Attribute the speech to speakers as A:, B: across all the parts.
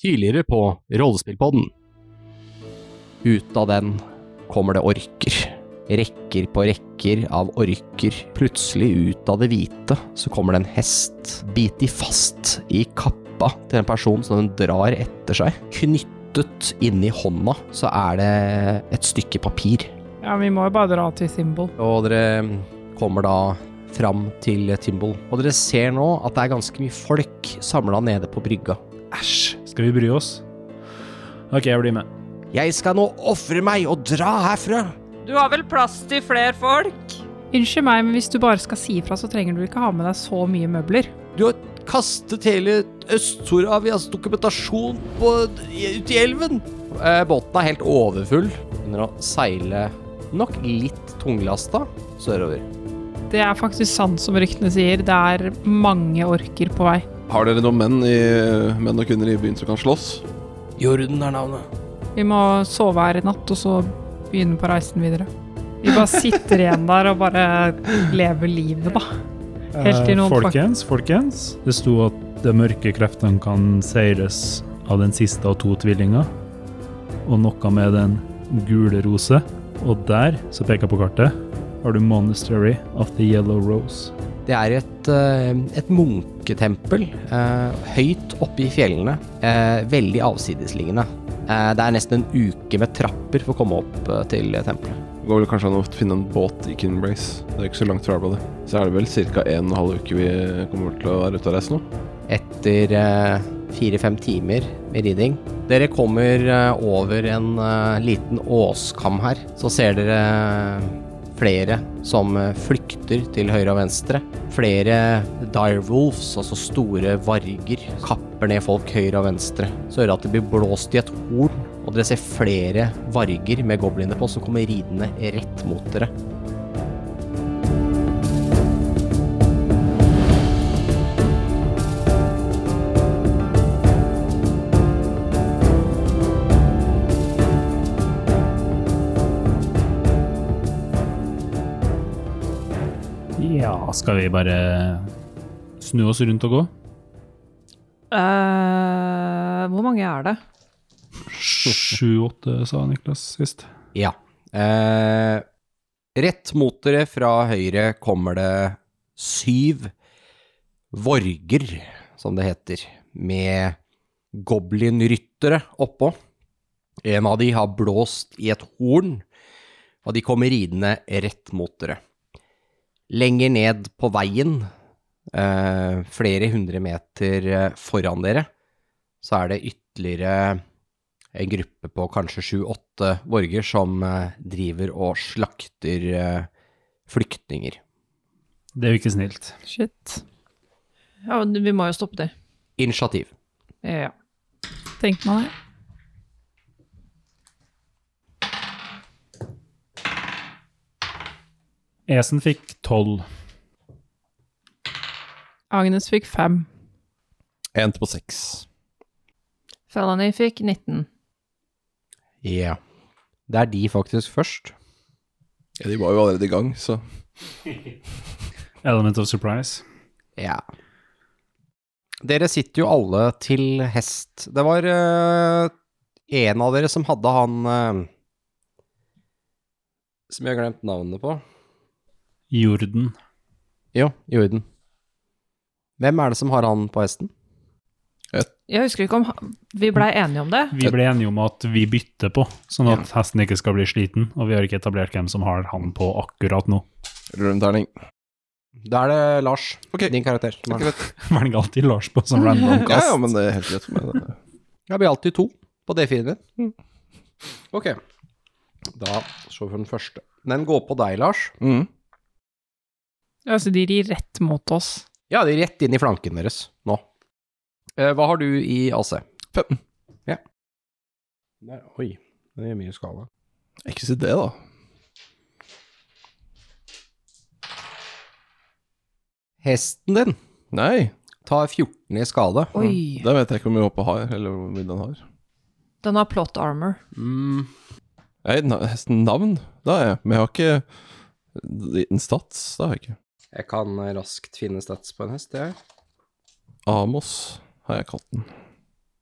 A: tidligere på Rollespillpodden.
B: Ut av den kommer det orker. Rekker på rekker av orker. Plutselig ut av det hvite så kommer det en hest. Biter fast i kappa til en person som den drar etter seg. Knyttet inni hånda så er det et stykke papir.
C: Ja, vi må jo bare dra til Symbol.
B: Og dere kommer da fram til Timbol. Og dere ser nå at det er ganske mye folk samla nede på brygga.
D: Æsj. Skal vi bry oss? OK, jeg blir med.
B: Jeg skal nå ofre meg og dra herfra!
E: Du har vel plass til flere folk?
C: Unnskyld meg, men hvis du bare skal si ifra, så trenger du ikke ha med deg så mye møbler.
B: Du har kastet hele Øst-Soravias altså dokumentasjon på, ut i elven. Eh, båten er helt overfull. Begynner å seile nok litt tunglasta sørover.
C: Det er faktisk sant som ryktene sier, det er mange orker på vei.
F: Har dere noen menn, i, menn og kvinner i byen som kan slåss?
B: Jorden er navnet.
C: Vi må sove her i natt, og så begynne på reisen videre. Vi bare sitter igjen der og bare lever livet, da. Helt til
D: Eh,
C: noen
D: folkens, folkens. Det sto at de mørke kreftene kan seires av den siste av to tvillinger. Og noe med den gule rose. Og der, så peker jeg på kartet, har du Monastery of the Yellow Rose.
B: Det er et, eh, et munketempel eh, høyt oppe i fjellene. Eh, veldig avsidesliggende. Eh, det er nesten en uke med trapper for å komme opp eh, til tempelet.
F: Det går vel kanskje an å finne en båt i Kinbrace. Det er ikke så langt fra hverandre. Så er det vel ca. en og en halv uke vi kommer til å være ute og reise nå.
B: etter eh, fire-fem timer med riding. Dere kommer eh, over en eh, liten åskam her. Så ser dere eh, flere som eh, flykter til høyre og venstre. Flere direwolves, altså store varger, kapper ned folk høyre og venstre. Så hører dere at det blir blåst i et horn, og dere ser flere varger med gobliner på som kommer ridende rett mot dere.
D: Ja, skal vi bare snu oss rundt og gå?
E: Eh, hvor mange er det?
D: Sju-åtte, sa Niklas sist.
B: Ja. Eh, rett mot dere fra høyre kommer det syv vorger, som det heter, med goblinryttere oppå. En av de har blåst i et horn, og de kommer ridende rett mot dere. Lenger ned på veien, eh, flere hundre meter eh, foran dere, så er det ytterligere en gruppe på kanskje sju-åtte borger som eh, driver og slakter eh, flyktninger.
D: Det er jo ikke snilt.
C: Shit.
E: Ja, men Vi må jo stoppe det.
B: Initiativ.
C: Ja. Tenk meg det.
D: Esen fikk tolv.
C: Agnes fikk fem.
F: Én på seks.
E: Felony fikk 19.
B: Ja. Det er de faktisk først.
F: Ja, de var jo allerede i gang, så
D: Element of surprise.
B: Ja. Dere sitter jo alle til hest. Det var eh, en av dere som hadde han eh, Som jeg har glemt navnet på.
D: Jorden.
B: Jo, Jorden. Hvem er det som har han på hesten?
E: Jeg husker ikke om ha- vi blei enige om det.
D: Vi ble enige om at vi bytter på, sånn at hesten ikke skal bli sliten. Og vi har ikke etablert hvem som har han på akkurat nå.
F: rull en terning.
B: Da er det Lars,
F: Ok.
B: din karakter. som har den.
D: Velger alltid Lars på som random
F: Ja,
D: cast.
F: ja, men det er helt greit for meg. det.
B: Det blir alltid to på D4-en din. Ok. Da så vi for den første. Den går på deg, Lars.
F: Mm.
C: Ja, så Altså, de rir rett mot oss.
B: Ja, det er rett inn i flanken deres nå. Eh, hva har du i AC?
F: 15.
B: Ja. Nei, oi, det gjør mye skala.
F: Ikke si det, da.
B: Hesten din
F: Nei,
B: tar 14 i skade.
E: Oi.
F: det vet jeg ikke hvor mye hoppet har, eller hvor mye den har.
E: Den har plot armor.
B: Mm,
F: Nei, na- hesten navn, da er jeg. Men jeg har ikke liten stats, det har jeg ikke.
B: jeg kan raskt finne stats på en hest, jeg.
F: Amos har jeg kalt den.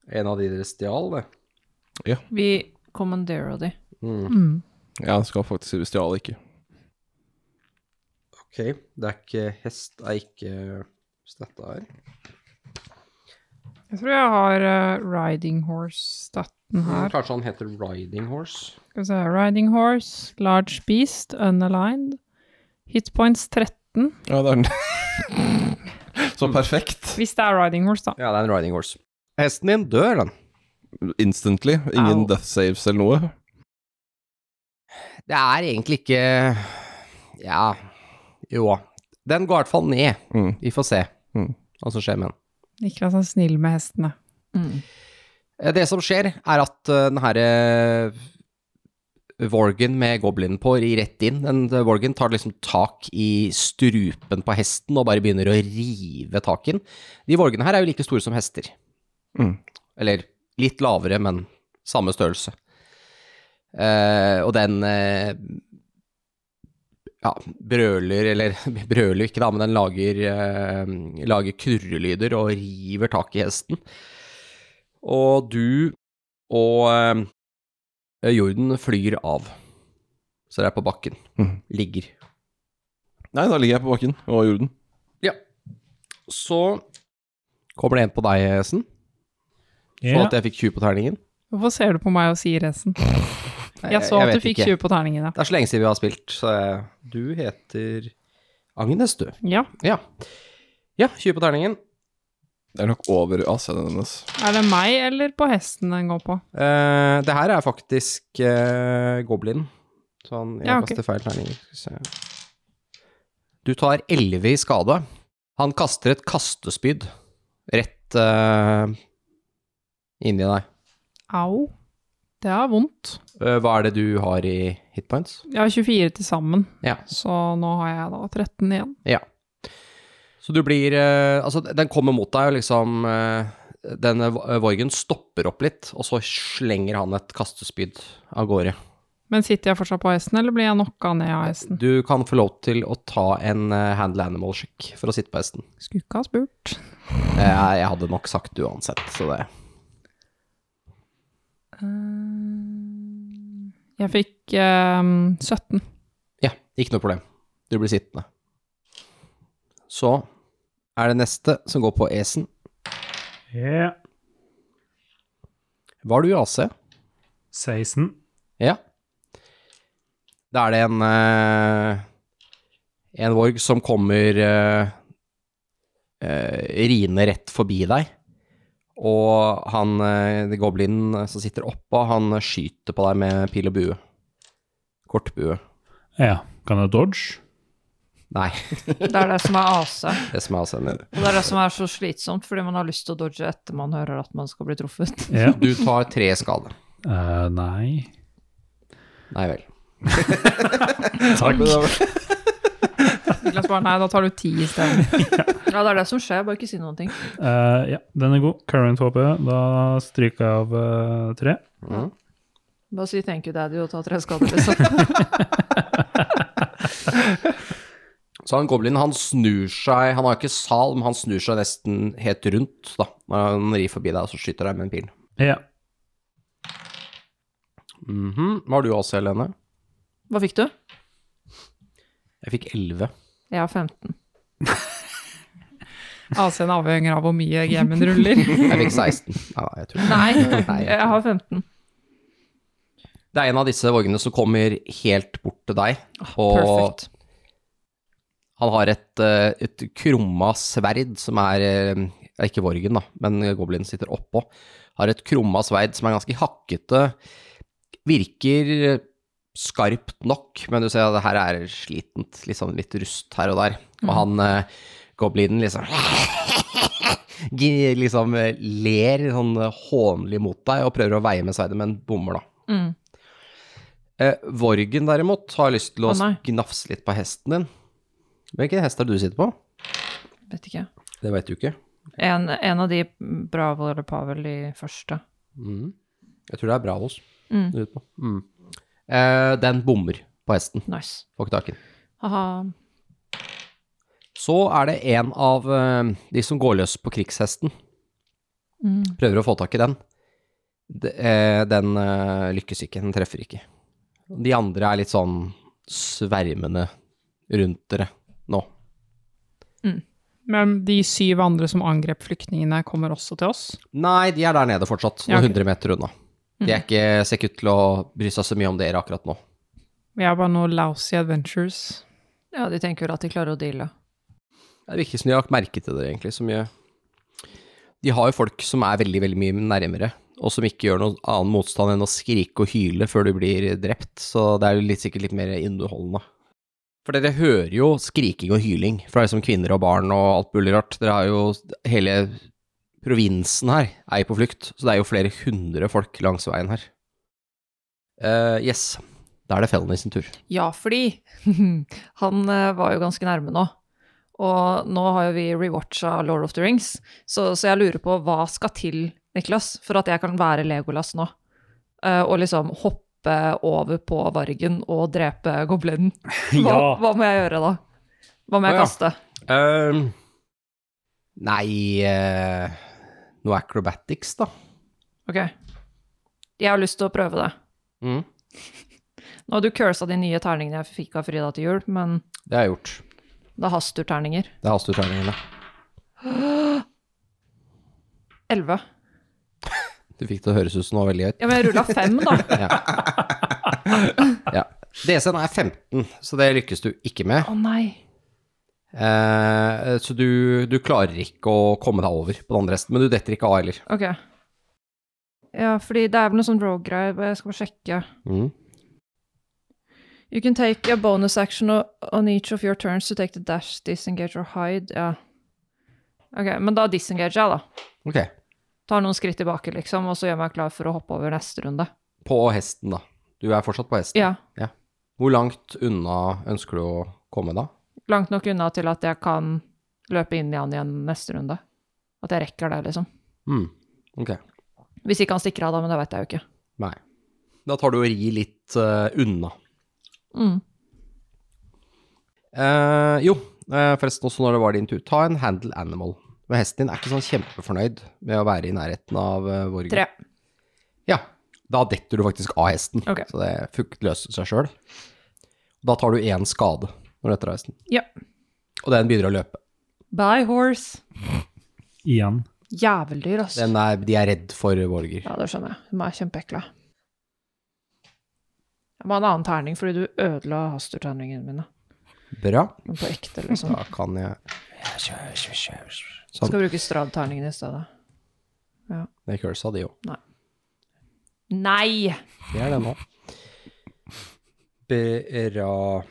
B: En av de dere stjal, det.
E: Vi commanderer de.
C: Mm.
F: Ja, han skal faktisk vi stjal ikke.
B: Ok, det er ikke hest, er ikke støtta her.
C: Jeg tror jeg har eh, riding horse-staten her.
B: Kanskje han heter Riding Horse?
C: Skal vi se. Riding horse, large beast, unaligned. Hit points 13.
F: Ja, det er den. Så perfekt.
C: Hvis det er riding horse, da.
B: Ja, det er en Riding Horse. Hesten din dør, den.
F: Instantly. Ingen
C: Au.
F: death saves eller noe.
B: Det er egentlig ikke Ja. Jo. Den går i hvert fall ned.
F: Mm.
B: Vi får se
F: Mm.
B: hva som skjer med den.
C: Ikke vær så snill med hestene.
B: Eh, Det som skjer, er at eh, den herre Vorgen med goblinen på rir rett inn. Den eh, Vorgen tar liksom tak i strupen på hesten og bare begynner å rive tak i den. De Vorgene her er jo like store som hester.
F: Mm.
B: Eller litt lavere, men samme størrelse. Eh, og den eh, ja, brøler, eller brøler ikke da, men den lager, eh, lager kurrelyder og river tak i hesten. Og du og eh, jorden flyr av. Så det er på bakken.
F: Mhm.
B: Ligger.
F: Nei, da ligger jeg på bakken og jorden.
B: Så kommer det en på deg, Hesten. Så
D: Ja.
B: at jeg fikk 20 på terningen.
C: Hvorfor ser du på meg og sier hesten?
B: Nei,
C: Jeg så at
B: vet
C: du fikk
B: ikke.
C: 20 på terningen, ja.
B: Det er så lenge siden vi har spilt, så jeg- du heter Agnes, du.
C: ja.
B: Ja. Ja, 20 på terningen.
F: Det er nok over AC-en hennes.
C: Er det meg eller på hesten den går på?
B: Eh, det her er faktisk eh, goblin, så han jeg
C: Ja, ok.
B: kaster feil terninger. Skal vi se. Du tar 11 i skade. Han kaster et kastespyd rett eh, inn i deg.
C: Au. Det er vondt.
B: Eh, hva er det du har i hitpoints?
C: Jeg har 24 til sammen,
B: Ja.
C: så nå har jeg da 13 igjen.
B: Så du blir eh, Altså, den kommer mot deg, og liksom eh, Denne v- Vorgen stopper opp litt, og så slenger han et kastespyd av gårde.
C: Men sitter jeg fortsatt på hesten, eller blir jeg knocka ned av hesten?
B: Du kan få lov til å ta en eh, handle animal-sjekk for å sitte på hesten.
C: Skulle ikke ha spurt.
B: Eh, jeg hadde nok sagt det uansett, så det
C: Eh, Jeg fikk eh, 17.
B: Ja, ikke noe problem. Du blir sittende. Så er det neste som går på esen.
D: ja.
B: Var du i AC?
D: 16.
B: Ja. Da er det en eh, En vorg som kommer eh, eh, riende rett forbi deg. Og han eh, det goblinen som sitter oppå, han skyter på deg med pil og bue. Kortbue.
D: Ja. Kan jeg dodge?
B: Nei,
E: Det er det som er AC.
B: det som er altså en
E: Og det er det som er så slitsomt, fordi man har lyst til å dodge etter man hører at man skal bli truffet.
D: Ja.
B: Du tar tre skade.
D: Eh, nei.
B: Nei vel.
D: Takk.
C: Niklas bare nei, da tar du 10 i stedet.
E: Ja, det er det som skjer, bare ikke si noen ting.
D: Eh, ja, den er god. Current HP. Da stryker jeg av eh, tre.
E: Bare si 'thank you, daddy' og ta tre skader, liksom.
B: Så han goblinen, han snur seg Han har ikke sal, men han snur seg nesten helt rundt da, når han rir forbi deg og så skyter deg med en pil.
D: Ja.
B: Mhm. Hva har du også, Helene?
E: Hva fikk du?
B: Jeg fikk 11.
E: Jeg har 15.
C: AC-en avhenger av hvor mye gamen ruller.
B: Jeg fikk 16. Nei, nei, jeg tror ikke.
E: Nei,
B: Nei.
E: jeg har 15.
B: Det er en av disse vogene som kommer helt bort til deg, og
E: Perfect.
B: han har et, eh, et krumma sverd som er eh, ja, Ikke vorgen, da, men goblinen sitter oppå. Har et krumma sverd som er ganske hakkete. Virker skarpt nok, men du ser at det her er slitent. Liksom litt rust her og der.
E: Mm.
B: Og han eh, goblinen liksom gi- Liksom eh, ler sånn eh, hånlig mot deg og prøver å veie med sverdet, men bommer, da.
E: Mm.
B: Eh, Vorgen derimot har lyst til å
E: Å, nei.
B: gnafse litt på hesten din. Hvilken hest er det du sitter på?
E: Vet ikke.
B: Det veit du ikke.
E: En, en av de Bravo eller Pavel i første.
B: Mm. Jeg tror det er Bravos
E: Mm.
B: du sitter på. Eh, den bommer på hesten.
E: Nice.
B: Får ikke tak i den.
E: Haha.
B: Så er det en av eh, de som går løs på krigshesten.
E: Mm.
B: Prøver å få tak i den. De- eh, Den eh, lykkes ikke, den treffer ikke. De andre er litt sånn svermende rundt dere nå.
C: Men de syv andre som angrep flyktningene, kommer også til oss?
B: Nei, de er der nede fortsatt,
C: Ja,
B: noen
C: ok.
B: hundre meter unna. De er ikke, ser ikke ut til å bry seg så mye om dere akkurat nå.
C: Vi er bare noen lousy adventures.
E: Ja, de tenker vel at de klarer å deale.
B: Det virker som de har lagt merke til det, egentlig, så mye. De har jo folk som er veldig, veldig mye nærmere, og som ikke gjør noen annen motstand enn å skrike og hyle før du blir drept, så det er jo litt, sikkert litt mer underholdende. For dere hører jo skriking og hyling fra liksom kvinner og barn og alt mulig rart. Dere har jo hele provinsen her er jo på flukt, så det er jo flere hundre folk langs veien her. Eh, yes, da er det Felony sin tur.
E: Ja, fordi han eh, var jo ganske nærme nå. Og nå har jo vi rewatcha Lord of the Rings, så, så jeg lurer på hva skal til, Niklas, for at jeg kan være Legolas nå? Eh, og liksom hoppe over på vargen og drepe goblinen. Hva,
D: Ja.
E: hva må jeg gjøre da? Hva må jeg
B: Å, ja.
E: kaste?
B: Ehm, nei eh, Noe acrobatics, da.
E: Ok. Jeg har lyst til å prøve det.
B: Mm.
E: Nå har du cursa de nye terningene jeg fikk av Frida til jul, men
B: Det har jeg gjort.
E: det haster terninger.
B: Det er hasteterningene.
E: Elleve.
B: Du fikk det å høres ut som noe veldig høyt.
E: Ja, men jeg rulla fem, da.
B: Ja. DC-en er 15, så det lykkes du ikke med.
E: Å nei.
B: Eh, så du, du klarer ikke å komme deg over på den andre hesten, men du detter ikke av heller.
E: Ok. Ja, fordi det er vel noe sånn rogue-greier, jeg skal bare sjekke.
B: Mm.
E: You can take a bonus action o- on each of your turns to take the dash, disengage or hide. Ja. Ok, men da disengager jeg, da.
B: Ok.
E: Tar noen skritt tilbake, liksom, og så gjør jeg meg klar for å hoppe over neste runde.
B: På hesten, da. Du er fortsatt på hesten.
E: Ja.
B: Hvor langt unna ønsker du å komme, da?
E: Langt nok unna til at jeg kan løpe inn i han igjen neste runde. At jeg rekker det, liksom.
B: Mm. Ok.
E: Hvis ikke han stikker av, da, men det vet jeg jo ikke.
B: Nei. Da tar du og rir litt eh, unna.
E: Mm.
B: Eh, jo, eh, forresten også når det var din tur, ta en handle animal. Men hesten din er ikke sånn kjempefornøyd med å være i nærheten av uh, Vorgen.
E: Tre.
B: Ja, da detter du faktisk av hesten,
E: Ok.
B: så det fukt løser seg sjøl. Da tar du én skade når du detter av hesten,
E: Ja.
B: og den begynner å løpe.
E: Bye, horse.
D: Igjen.
E: Jæveldyr, altså.
B: Den er, de er redd for Vorger.
E: Ja, det skjønner jeg. De er kjempeekle. Jeg må ha en annen terning, fordi du ødela hasterterningene mine.
B: Bra.
E: Men på ekte, liksom.
B: Da kan jeg
E: Skal bruke stradterningen i stedet.
B: Det cursa de òg.
E: Nei!
B: Det er det nå. Bra.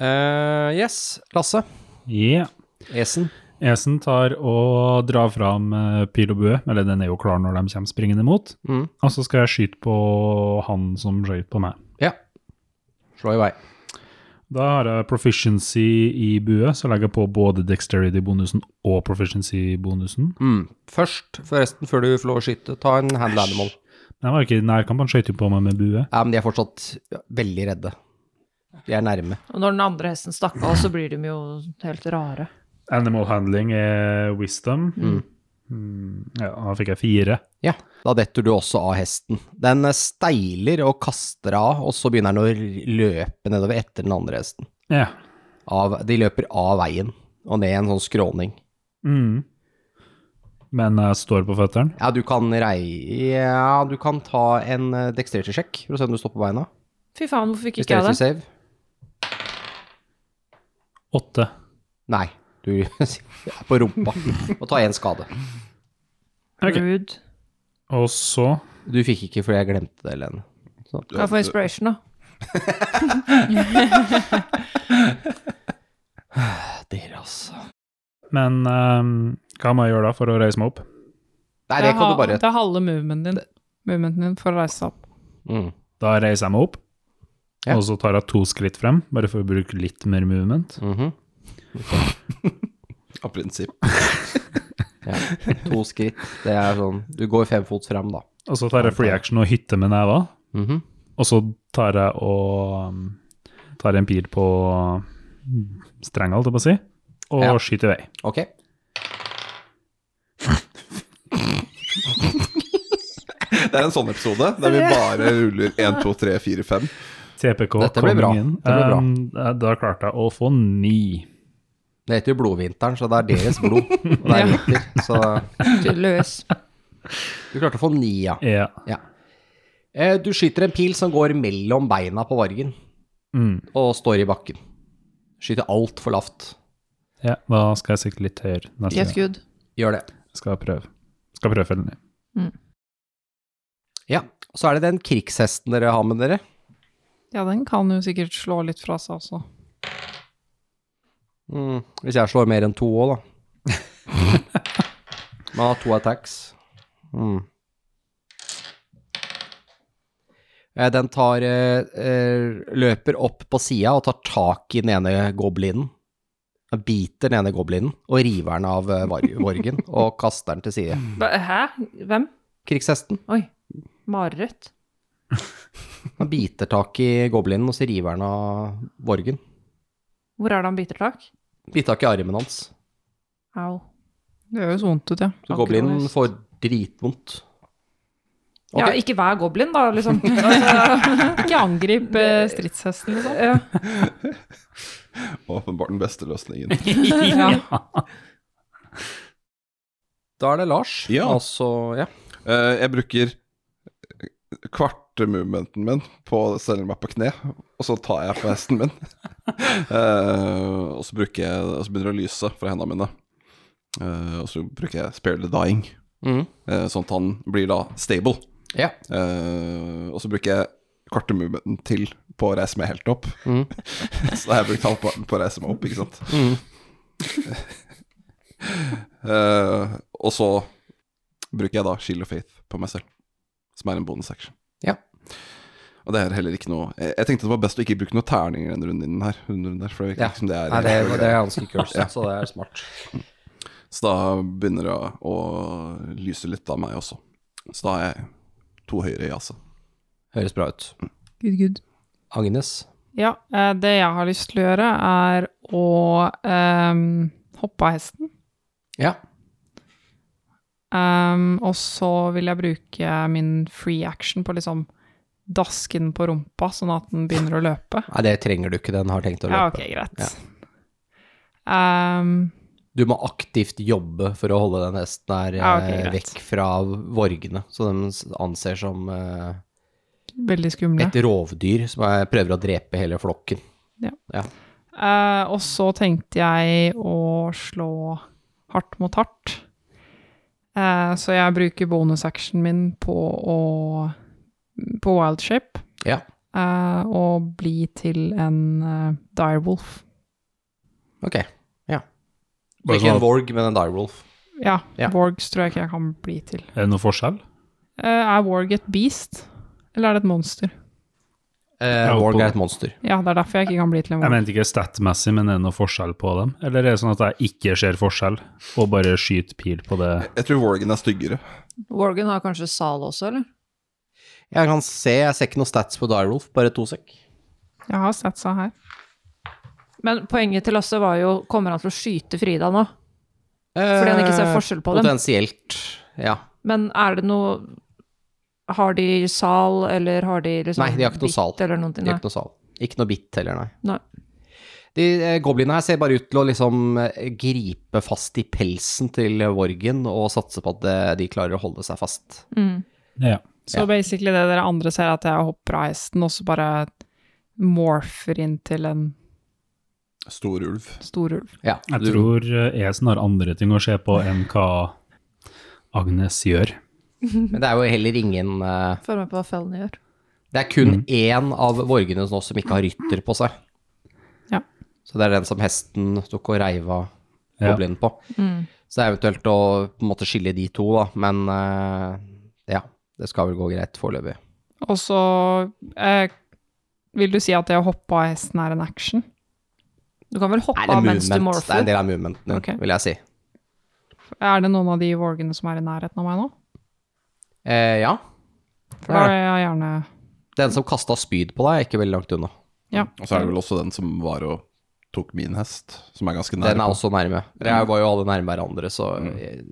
B: Eh, yes, Lasse.
D: Yeah.
B: Esen.
D: E. Esen tar og drar fram eh, pil og bue, eller den er jo klar når de kommer springende imot.
B: Mm.
D: Og så skal jeg skyte på han som skøyt på meg.
B: Ja. Slå i vei.
D: Da har jeg proficiency i bue, så legger jeg på både dexterity-bonusen og proficiency-bonusen.
B: Mm. Først, forresten, før du får lov å skyte, ta en handle animal.
D: Men jeg var ikke i nærkamp, han skøyt jo på meg med bue.
B: Ja, men de er fortsatt veldig redde. De er nærme.
E: Og når den andre hesten stakk av, så blir de jo helt rare.
D: Animal handling er wisdom. Mm, Ja, da fikk jeg fire.
B: Ja, da detter du også av hesten. Den eh, steiler og kaster av, og så begynner den å r- løpe nedover etter den andre hesten.
D: Ja.
B: Av, de løper av veien og ned en sånn skråning.
D: Mm. Men jeg står på føttene.
B: Ja, du kan rei... Ja, du kan ta en eh, dexterity-sjekk for å se om du står på beina.
E: Fy faen, hvorfor fikk ikke
B: Dexterity
E: jeg det?
B: save.
D: Åtte.
B: Nei, du er på rumpa. Og ta én skade.
D: Ok.
E: Rude.
D: Og så
B: Du fikk ikke fordi jeg glemte det, Lene.
E: Kan jeg få inspiration, da?
B: Dere, altså.
D: Men ehm, hva må jeg gjøre da for å reise meg opp?
B: Nei, det kan
C: ha-
B: du bare
C: Det er halve movementen din, movementen din for å reise seg opp.
B: mm.
D: Da reiser jeg meg opp,
B: Ja.
D: og så tar jeg to skritt frem, bare for å bruke litt mer movement.
B: mhm.
F: Av prinsipp.
B: ja. To skritt. Det er sånn Du går fem fot frem, da.
D: Og så tar jeg free action og hytte med neva,
B: Mhm.
D: og så tar jeg og um, tar en pil på um, strenga, holdt jeg på å si, og
B: Ja.
D: skyter i vei.
B: Ok.
F: Det er en sånn episode der vi bare ruller 1, 2, 3, 4, 5.
D: TPK
B: Dette blir bra.
D: inn.
B: Dette blir bra.
D: Um, da- da klarte jeg å få ni.
B: Det heter jo blodvinteren, så det er deres blod. Og det er vinter, så
E: Løs.
B: du klarte å få ni, ja.
D: Ja.
B: ja. Eh, Du skyter en pil som går mellom beina på Vargen,
D: Mm.
B: og står i bakken. Skyter altfor lavt.
D: ja. Da skal jeg sikte litt høyere neste
E: I et
D: gang.
E: skudd.
B: Gjør det.
D: Skal jeg prøve. Skal prøve å felle den ned.
B: Ja. Så er det den krigshesten dere har med dere.
C: Ja, den kan jo sikkert slå litt fra seg også.
B: Mm, Hvis jeg slår mer enn to òg, da. Man har to attacks. Mm. Eh, Den tar eh, eh, løper opp på sida og tar tak i den ene goblinen. Den biter den ene goblinen og river den av eh, var- vorgen og kaster den til side.
E: Ba- Hæ? Hvem?
B: Krigshesten.
E: Oi. Mareritt.
B: Han biter tak i goblinen, og så river han av vorgen.
E: Hvor er det han biter tak?
B: Biter tak i armen hans.
E: Au.
C: Det gjør jo så vondt ut, ja.
B: Så goblinen får dritvondt. Ok.
E: Ja, ikke hver goblin, da, liksom.
C: Ikke angrip eh, stridshesten, liksom.
E: Ja.
F: Åpenbart den beste løsningen.
E: Ja.
B: Da er det Lars.
F: Ja.
B: Altså, ja.
F: Eh, jeg bruker kvartemovementen min på å stelle meg på kne, og så tar jeg på hesten min. Eh, og, så bruker jeg, og så begynner det å lyse fra hendene mine. Eh, og så bruker jeg Spare the Dying,
B: Mhm.
F: eh, sånn at han blir da stable.
B: Ja.
F: Eh, og så bruker jeg kvartemovementen til på å reise meg helt opp.
B: Mhm.
F: så da har jeg brukt halvparten på å reise meg opp, ikke sant. Eh, og så bruker jeg da Shield of Faith på meg selv, som er en bonus action.
B: Ja.
F: Og det er heller ikke noe Jeg, jeg tenkte det var best å ikke bruke noen terninger denne runden inn her. denne runden der, for det virker
B: Ja.
F: ikke som det er,
B: Nei, det, det er ganske kult, så det er smart.
F: Så da begynner det å, å lyse litt av meg også. Så da har jeg to høyre i altså. jazze.
B: Høres bra ut.
C: Gud, gud.
B: Agnes.
C: Ja, eh, det jeg har lyst til å gjøre, er å ehm, hoppe av hesten.
B: Ja.
C: Ehm, og så vil jeg bruke min free action på å liksom daske den på rumpa, sånn at den begynner å løpe.
B: Nei, det trenger du ikke, den har tenkt å løpe.
C: Ja, ok, greit.
B: Ja.
C: Ehm,
B: Du må aktivt jobbe for å holde den hesten her eh,
C: Ja, ok, greit.
B: vekk fra vorgene, så de anser som eh,
C: veldig skumle.
B: et rovdyr som er, prøver å drepe hele flokken.
C: Eh, og så tenkte jeg å slå hardt mot hardt. Eh, så jeg bruker bonusactionen min på å på wild shape.
B: Ja.
C: Eh, og bli til en eh, direwolf.
B: Ok, ja.
D: Bare
B: Ikke
D: sånn
B: en
D: at-
B: vorg, men en direwolf.
C: Ja,
B: Ja.
C: wargs tror jeg ikke jeg kan bli til.
D: Er det noe forskjell?
C: Eh, er warg et beast, eller er det et monster?
B: Eh,
D: Ja,
B: vorg
D: på-
B: er et monster.
C: Ja, det er derfor jeg ikke kan bli til en
D: Jeg
C: warg.
D: mente ikke statmessig, men er det noe forskjell på dem? Eller er det sånn at jeg ikke ser forskjell, og bare skyter pil på det?
F: Jeg tror Worgen er styggere.
E: Worgen har kanskje sal også, eller?
B: Jeg kan se, jeg ser ikke noe stats på direwolf, bare to sek.
C: Jeg har sett seg her.
E: Men poenget til Lasse var jo Kommer han til å skyte Frida nå? Fordi han ikke ser forskjell på dem.
B: Eh, Potensielt, ja.
E: Men er det noe Har de sal, eller har de liksom
B: Nei, de har ikke noe
E: bitt
B: sal.
E: Eller noe,
B: Det er ikke noe sal. Ikke noe bitt heller, nei.
E: Nei.
B: De eh, goblinene her ser bare ut til å liksom eh, gripe fast i pelsen til Vorgen og satse på at eh, de klarer å holde seg fast.
E: Mm.
D: Ja.
C: Så basically det dere andre ser, er at jeg hopper av hesten, og så bare morfer inn til en
F: Stor ulv.
C: stor ulv.
B: Ja,
D: Jeg
B: du-
D: tror eh, Esen har andre ting å se på enn hva Agnes gjør.
B: Men det er jo heller ingen eh,
E: Følg med på hva fellene gjør.
B: Det er kun én av Vorgene nå som ikke har rytter på seg.
C: Ja.
B: Så det er den som hesten tok og reiv av
D: Ja.
B: goblinen på.
E: Mm.
B: Så det er eventuelt å på en måte skille de to, da. Men eh, ja, det skal vel gå greit foreløpig.
C: Og så eh, vil du si at det å hoppe av hesten er en action?
E: Du kan vel hoppe
B: Er det
E: av mens
B: movement?
E: du
B: Det er en
E: morfer?
B: del av movementen din,
C: Ok.
B: vil jeg si.
C: Er det noen av de vorgene som er i nærheten av meg nå?
B: Eh, ja. Eh,
C: For da er jeg gjerne
B: Den som kasta spyd på deg, er ikke veldig langt unna.
C: Ja.
F: Og så er det
B: Mm.
F: vel også den som var og tok min hest, som er ganske nær.
B: Den er
F: på.
B: også
C: Mm.
B: nærme. Jeg var jo alle nærme hverandre, så eh,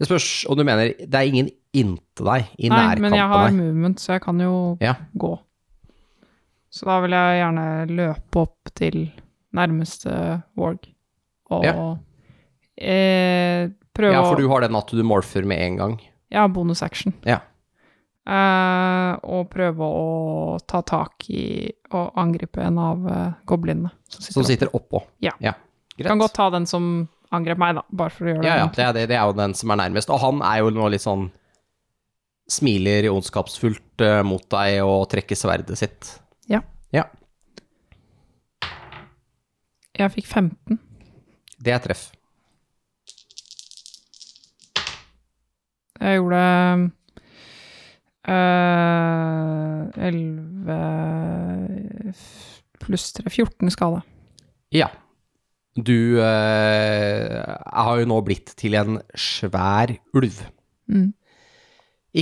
B: Det spørs om du mener Det er ingen inntil deg, i
C: Nei,
B: nærkampen
C: men jeg har
B: av deg.
C: movement, så jeg kan jo
B: Ja.
C: gå. Så da vil jeg gjerne løpe opp til nærmeste Warg og
B: Ja.
C: eh, prøve
B: Ja, for
C: å
B: du har den at du morfer med en gang.
C: Jeg har bonus action.
B: Ja.
C: Eh, og prøve å ta tak i og angripe en av eh, goblinene som sitter,
B: Som
C: oppe.
B: sitter oppå.
C: Ja.
B: Greit.
C: Kan godt ta den som angrep meg, da, bare for å gjøre
B: Ja, ja,
C: det.
B: det er, det, det er jo den som er nærmest. Og han er jo nå litt sånn Smiler ondskapsfullt eh, mot deg og trekker sverdet sitt.
C: Jeg fikk 15.
B: Det er treff.
C: Jeg gjorde øh, 11 pluss 3, 14 skade.
B: Ja. Du eh, har jo nå blitt til en svær ulv.
C: Mm.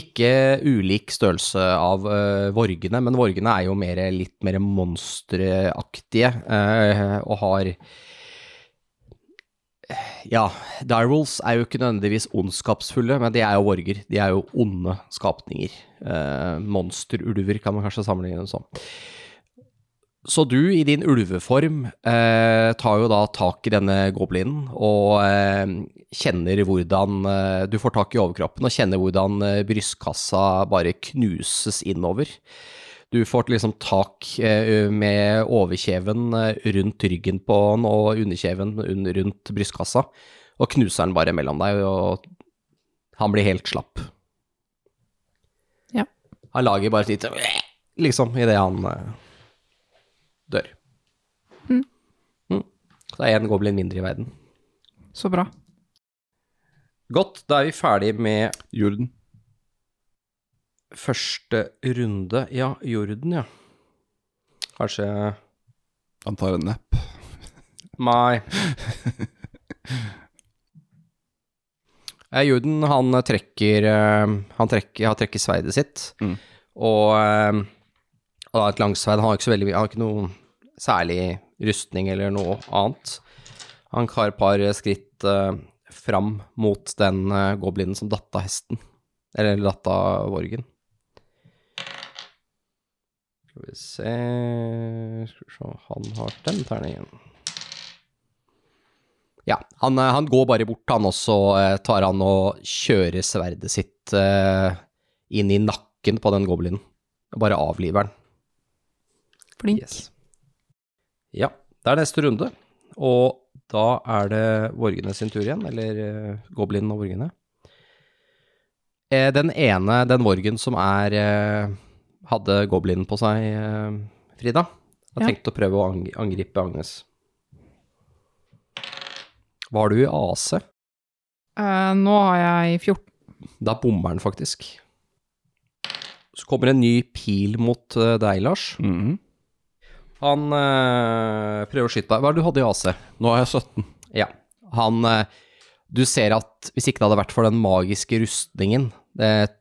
B: Ikke ulik størrelse av eh, vorgene, men vorgene er jo mer, litt mer monsteraktige eh, og har Ja, direwolves er jo ikke nødvendigvis ondskapsfulle, men de er jo vorger. De er jo onde skapninger. Eh, monsterulver kan man kanskje sammenligne dem som. Så du, i din ulveform, eh, tar jo da tak i denne goblinen og eh, kjenner hvordan eh, Du får tak i overkroppen og kjenner hvordan eh, brystkassa bare knuses innover. Du får liksom tak eh, med overkjeven eh, rundt ryggen på den og underkjeven un- rundt brystkassa, og knuser den bare mellom deg, og han blir helt slapp.
C: Ja.
B: Han lager bare et lite liksom, idet han eh, dør.
C: Mm.
B: Mm. Så det er én goblin mindre i verden.
C: Så bra.
B: Godt, da er vi ferdig med
F: Jorden.
B: første runde. Ja, Jorden, ja. Kanskje
F: Han tar en nap.
B: Nei. Eh, Jorden, han trekker eh, Han trekker, han trekker sverdet sitt,
F: Mm.
B: og eh, han har et langsverd. Han har ikke så veldig mye Han har ikke noe særlig rustning eller noe annet. Han tar et par skritt eh, fram mot den eh, goblinen som datt av hesten. Eller datt av vorgen. Skal vi se Skal vi se Han har den terningen. Ja, han, eh, han går bare bort, han også. eh, Tar han og kjører sverdet sitt eh, inn i nakken på den goblinen. Og Bare avliver den.
C: Flink.
B: Yes. Ja, det er neste runde. Og da er det Vorgene sin tur igjen, eller eh, Goblinen og Vorgene. Eh, Den ene, den Vorgen som er eh, hadde Goblinen på seg, eh, Frida, har
C: Ja.
B: tenkt å prøve å ang- angripe Agnes. Hva har du i AC?
C: Eh, nå har jeg 14.
B: Da bommer den faktisk. Så kommer en ny pil mot eh, deg, Lars. Han eh, prøver å skyte deg. Hva er det du hadde i AC?
F: Nå er jeg 17.
B: Ja. Han eh, Du ser at hvis ikke det hadde vært for den magiske rustningen, det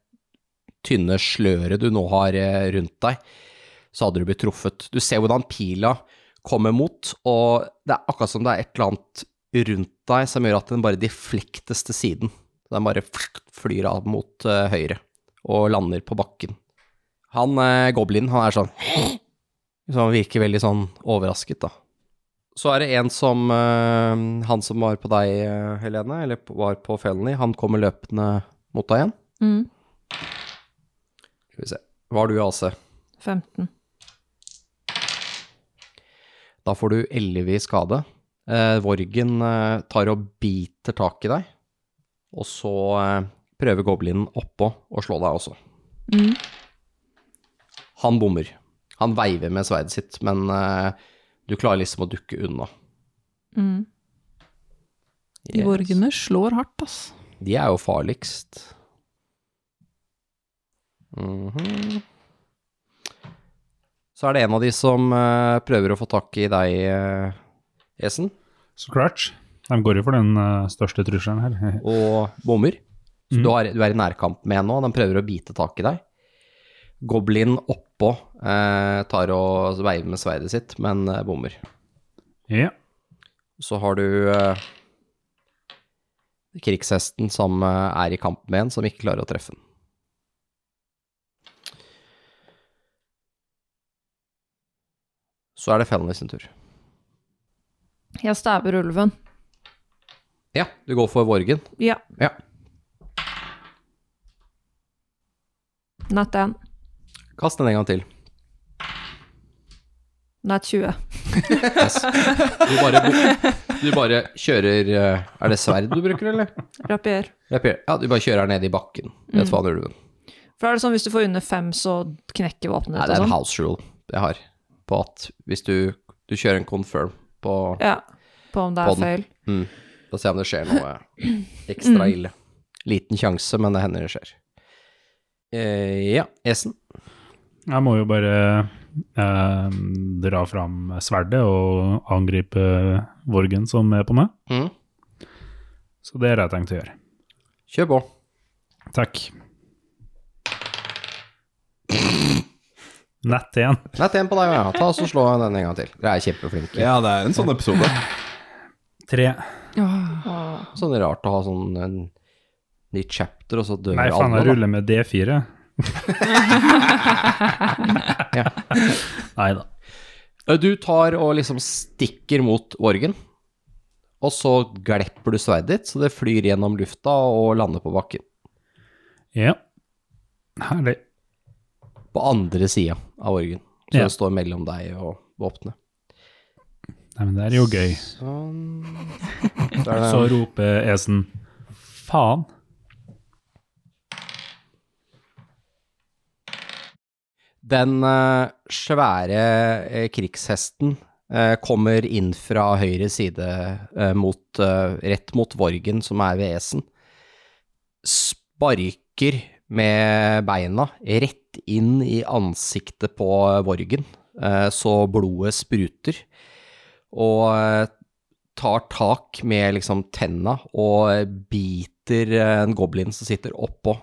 B: tynne sløret du nå har eh, rundt deg, så hadde du blitt truffet. Du ser hvordan pila kommer mot, og det er akkurat som det er et eller annet rundt deg som gjør at den bare deflektes til siden. Den bare flyr av mot eh, høyre og lander på bakken. Han eh, goblinen, han er sånn Så han virker veldig sånn overrasket, da. Så er det en som eh, Han som var på deg, eh, Helene, eller på- var på Felony, han kommer løpende mot deg igjen.
E: Mm.
B: Skal vi se. Hva har du i AC?
E: 15.
B: Da får du 11 i skade. Eh, Vorgen eh, tar og biter tak i deg, og så eh, prøver goblinen oppå å slå deg også.
E: Mm.
B: Han bommer. Han veiver med sverdet sitt, men eh, du klarer liksom å dukke unna.
E: Mm.
C: De
B: Yes.
C: vorgene slår hardt, ass.
B: De er jo farligst. Mhm. Så er det en av de som eh, prøver å få tak i deg, eh, Esen,
D: Scratch. De går jo for den eh, største trusselen her.
B: og bommer. Så
D: Mhm.
B: du, har, du er i nærkamp med en nå, den prøver å bite tak i deg. Goblin oppå eh, tar og veiver med sverdet sitt, men eh, bommer.
D: Ja.
B: Så har du eh, krigshesten som eh, er i kamp med en, som ikke klarer å treffe den. Så er det Felony sin tur.
E: Jeg stabber ulven.
B: Ja, du går for Vorgen.
E: Ja.
B: Ja.
E: Nat 1.
B: Kast den en gang til.
E: Nat 20.
B: Yes. Du bare, du bare kjører eh, Er det sverd du bruker, eller?
E: Rapier.
B: Rapier. Ja, du bare kjører her nede i bakken. Rett foran ulven.
E: For er det sånn hvis du får under fem, så knekker våpenet
B: Nei,
E: ditt
B: det er
E: og
B: en
E: sånn?
B: house rule jeg har på at hvis du, du kjører en confirm på
E: Ja. På om det
B: På
E: er
B: den.
E: feil.
B: mm, Da ser jeg om det skjer noe ekstra ille. Liten sjanse, men det hender det skjer. Eh, ja, Esen.
D: Jeg må jo bare eh, dra fram sverdet og angripe Vorgen som er på meg.
B: Mm.
D: Så det har jeg tenkt å gjøre.
B: Kjør på.
D: Takk. Nett igjen.
B: Nett en på deg, ja. Ta oss og Slå den en gang til. Dere er kjempeflinke.
F: Ja, det er en sånn episode.
D: Tre.
C: Åh,
E: Åh.
B: Sånn rart å ha sånn en nytt chapter, og så dør
D: Nei, faen,
B: alle. da.
D: jeg ruller med D4. Nei da.
B: Eh, Du tar og liksom stikker mot Vorgen, og så glepper du sverdet ditt, så det flyr gjennom lufta og lander på bakken.
D: Ja. Herlig.
B: På andre sida av Vorgen. Så
D: Ja.
B: det står mellom deg og våpenet.
D: Nei, men det er jo gøy.
B: Sånn.
D: Så roper Esen faen.
B: Den eh, svære eh, krigshesten eh, kommer inn fra høyre side eh, mot, eh, rett mot Vorgen, som er ved Esen. Sparker med beina rett inn i ansiktet på Vorgen, eh, så blodet spruter. Og eh, tar tak med liksom tenna og eh, biter eh, en goblin som sitter oppå.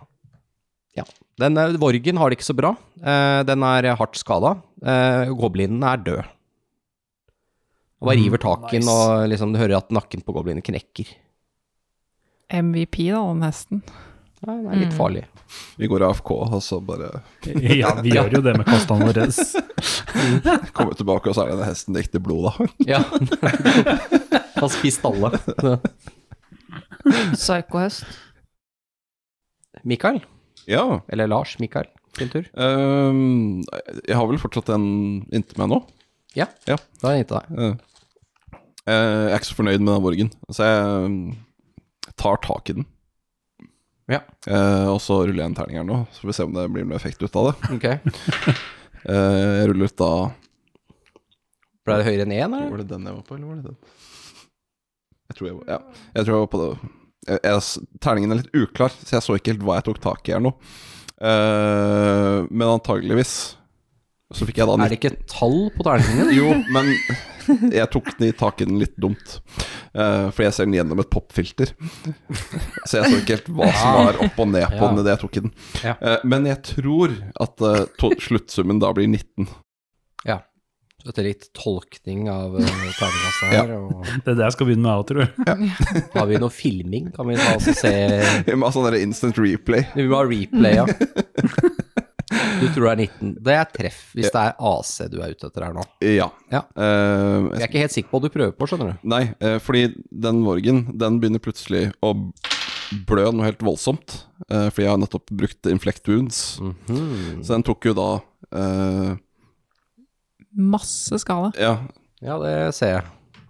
B: Ja. Den eh, Vorgen har det ikke så bra. Eh, den er hardt skada. Eh, goblinen er død. Og bare
D: Mm,
B: river tak i den,
D: nice.
B: og liksom, du hører at nakken på goblinen knekker.
C: MVP, da, den hesten.
B: Nei, den er litt farlig.
F: Vi går AFK, og så bare
D: Ja, vi gjør jo det med kostene våre.
F: kommer vi tilbake, og så er det den hesten det ekte blodet av.
B: Ja. Har spist alle.
E: Psykohest.
B: Mikael,
F: Ja.
B: eller Lars Mikael, sin tur.
F: ehm, jeg har vel fortsatt en inntil meg nå.
B: Da er det inntil deg.
F: Eh, jeg er ikke så fornøyd med den vorgen, så jeg mm, tar tak i den.
B: Ja.
F: Eh, og så ruller jeg en terning her nå, så får vi se om det blir noe effekt ut av det.
B: Ok.
F: Eh, jeg ruller ut da
B: Ble det høyere enn én, eller?
F: Var det den jeg var på, eller var det den? Jeg tror jeg var, ja. jeg, tror jeg var på det. Jeg, jeg, s- terningen er litt uklar, så jeg så ikke helt hva jeg tok tak i her nå. Eh, men antageligvis så fikk jeg da
B: Er det ikke et tall på terningen?
F: Jo, men jeg tok den i tak i den litt dumt. Eh, fordi jeg ser den gjennom et popfilter. Så jeg så ikke helt hva som var opp og ned på
B: Ja.
F: den idet jeg tok i den.
B: Ja.
F: Eh, men jeg tror at eh, to sluttsummen da blir 19.
B: Så etter litt tolkning av eh, terningkastet her, og
D: Det er det jeg skal begynne med, jeg tror jeg.
B: har vi noe filming? Kan vi ta oss og se
F: Med sånn der instant replay.
B: Vi må ha replay, ja. Du tror det er 19. Det er treff, hvis det er AC du er ute etter her nå.
F: Ja.
B: Ja.
F: Eh,
B: Jeg er ikke helt sikker på hva du prøver på, skjønner du.
F: Nei, eh, fordi den vorgen Den begynner plutselig å blø noe helt voldsomt eh, Fordi jeg har nettopp brukt inflect wounds
B: Mm. Mhm.
F: Så den tok jo da eh,
C: Masse skade.
F: Ja,
B: Ja, det ser jeg.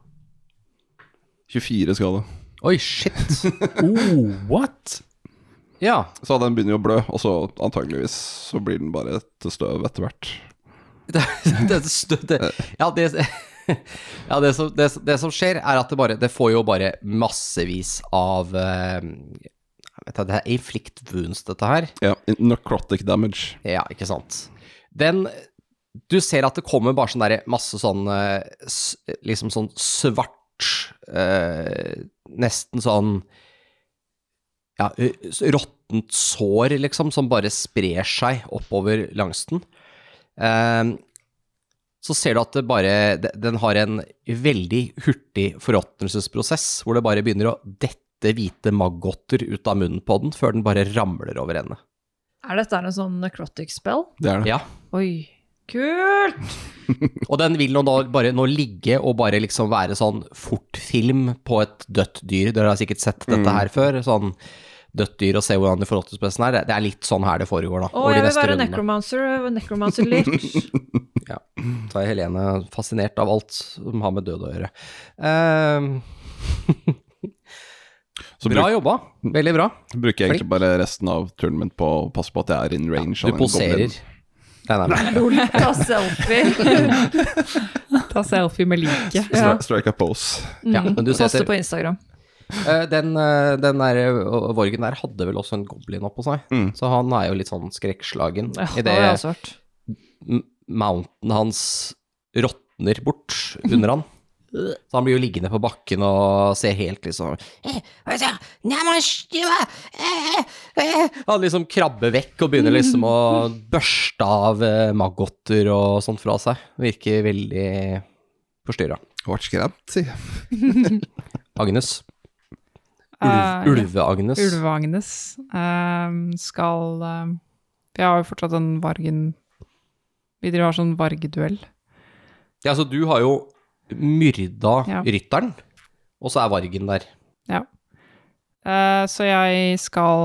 F: 24 skade
B: Oi, shit.
D: Oh, what?
B: Ja.
F: Så den begynner jo å blø Og så antageligvis så blir den bare til støv etter hvert
B: det, det, stø- det, ja, det, ja det, som, det, det som skjer, er at det bare Det får jo bare massevis av eh, jeg vet, ikke, Det er inflict wounds, dette her.
F: Ja, necrotic damage
B: Ja, ikke sant. Den Du ser at det kommer bare sånn derre masse sånn eh, s- Liksom sånn svart eh, Nesten sånn Ja, ø- s- råttent sår, liksom, som bare sprer seg oppover langs den. Eh, så ser du at det bare de- Den har en veldig hurtig forråtnelsesprosess, hvor det bare begynner å dette hvite maggoter ut av munnen på den, før den bare ramler over ende.
E: Er dette en sånn necrotic spell?
F: Det er det
B: Ja.
E: Oi. Kult!
B: Og den vil nå, da bare nå ligge og bare liksom være sånn fortfilm på et dødt dyr. Dere har sikkert sett dette her før. Sånn dødt dyr og se hvordan de forholder seg til spessen her. Det er litt sånn her det foregår, da.
E: Å,
B: over de
E: jeg vil
B: neste
E: være
B: rundene.
E: necromancer. Necromancer Lich.
B: Så er Helene fascinert av alt som har med død å gjøre. Ehm,
F: Så
B: bra
F: bruk,
B: jobba. Veldig bra.
F: bruker jeg egentlig bare resten av turen min på å passe på at jeg er in range.
B: Du
F: av den
B: poserer.
F: goblinen.
B: Nei, nei, nei.
E: Ta selfie.
C: Ta selfie med liket.
E: Ja.
F: Stri- Strike a pose.
B: Ja, men du
E: Poste
B: setter,
E: på Instagram.
B: Eh, den, eh, den der eh, Vorgen der hadde vel også en goblin oppå seg,
F: Mm.
B: så han er jo litt sånn skrekkslagen.
E: Ja,
B: I
E: det
B: det
E: har jeg også hørt.
B: m- mounten hans råtner bort under han. Så han blir jo liggende på bakken og ser helt liksom Han liksom krabber vekk og begynner liksom å børste av eh, maggoter og sånt fra seg. Virker veldig forstyrra.
F: Ble skremt, si.
B: Agnes.
C: Eh,
B: Ulve-Agnes.
C: Ulveagnes ehm, skal ehm, Vi har jo fortsatt den vargen Vi driver og har sånn vargeduell.
B: Ja, altså du har jo myrda
C: Ja.
B: rytteren, og så er vargen der.
C: Eh, så jeg skal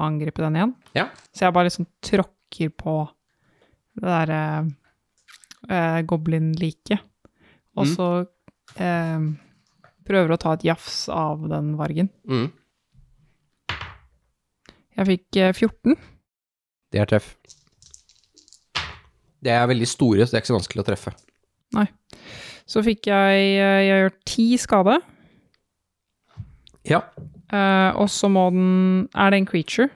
C: angripe den igjen.
B: Ja.
C: Så jeg bare liksom tråkker på det derre uh, goblin-liket. Og så ehm, prøver å ta et jafs av den vargen.
B: Mm.
C: Jeg fikk eh, 14.
B: Det er treff. Det er veldig store, så det er ikke så vanskelig å treffe.
C: Så fikk jeg eh, Jeg gjør ti skade.
B: Ja.
C: Eh, og så må den Er det en creature?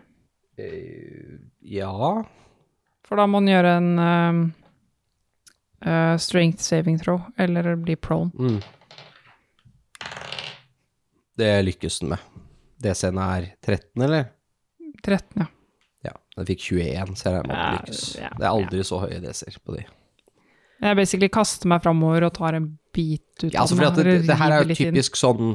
B: Eh, Ja
C: For da må den gjøre en um, uh, strength saving throw, eller bli prone.
B: mm. Det lykkes den med. DC-en er 13, eller?
C: 13, ja.
B: Ja, den fikk 21, så jeg regner med at det lykkes.
C: Ja, ja,
B: Det er aldri så høye DC-er på de.
C: Jeg basically kaster meg framover og tar en bit ut
B: Ja, altså
C: av
B: fordi
C: den.
B: at det,
C: og
B: det her er
C: river
B: jo
C: litt inn.
B: typisk sånn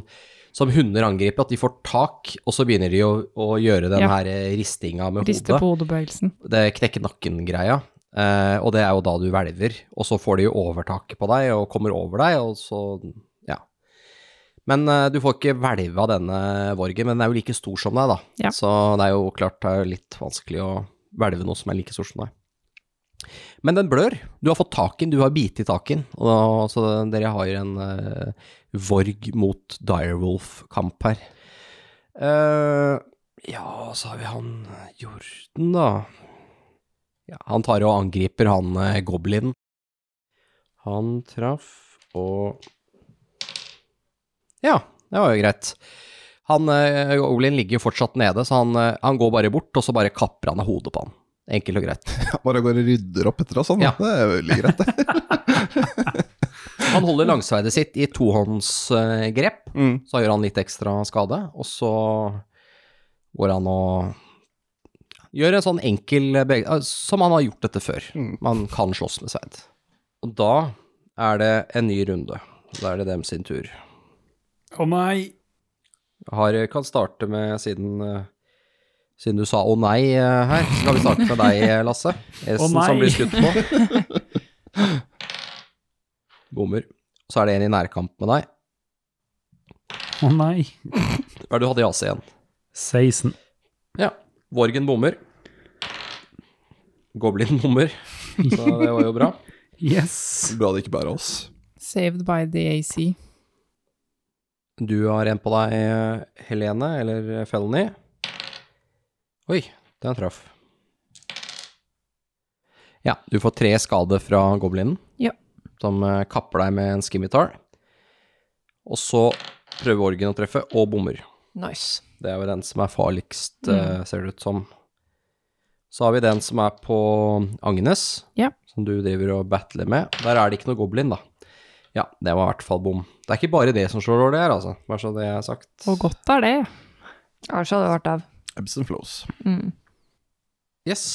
B: som hunder angriper, at de får tak, og så begynner de å, å gjøre den
C: Ja.
B: her eh, ristinga med
C: Riste
B: hodet.
C: på hodebevegelsen.
B: Det knekke nakken-greia. Eh, og det er jo da du hvelver, og så får de jo overtaket på deg og kommer over deg, og så Ja. Men eh, du får ikke hvelve av denne vorgen, men den er jo like stor som deg, da.
C: Ja.
B: Så det er jo klart det er jo litt vanskelig å hvelve noe som er like stor som deg. Men den blør. Du har fått tak i den, du har bitt i tak i den. og da- Så dere har en eh, Vorg mot Direwolf-kamp her. Eh, ja, så har vi han Jorden, da. Ja, han tar og angriper han eh, goblinen. Han traff og Ja, det var jo greit. Han eh, goblinen ligger jo fortsatt nede, så han, eh, han går bare bort, og så bare kapper han av hodet på han. Enkelt og greit.
F: Ja, Bare går og rydder opp etter oss, sånn.
B: Ja.
F: Det er veldig greit, det.
B: Han holder langsverdet sitt i tohåndsgrep,
F: Mm.
B: så gjør han litt ekstra skade, og så går han og gjør en sånn enkel bevegelse, som han har gjort dette før.
F: Mm.
B: Man kan slåss med sverd. Og da er det en ny runde. Da er det dem sin tur.
D: Å nei!
B: Har, kan starte med, siden, eh, siden du sa å nei eh, her, så kan vi starte med deg, eh, Lasse. Esen
D: nei.
B: som blir skutt på. Bommer. Så er det en i nærkamp med deg.
D: Å nei.
B: Hva er det du hadde i AC igjen?
D: 16.
B: Ja. Vorgen bommer. Goblin bommer. Så det var jo bra.
D: Yes!
F: Bra det ikke bare er oss.
C: Saved by the AC.
B: Du har en på deg, Helene, eller Felny. Oi, den traff. Ja, du får tre skade fra goblinen.
C: Ja.
B: Som eh, kapper deg med en skimitar. Og så prøver orgen å treffe, og bommer.
E: Nice.
B: Det er jo den som er farligst,
C: Mm.
B: eh, ser det ut som. Så har vi den som er på Agnes,
C: Ja.
B: som du driver og battler med. Der er det ikke noe goblin, da. Ja, det var i hvert fall bom. Det er ikke bare det som slår dårlig her, altså. Bare så det er sagt.
C: Og godt er det.
E: Ellers hadde jeg vært dau.
F: Ebbs and flows.
E: Mm.
B: Yes.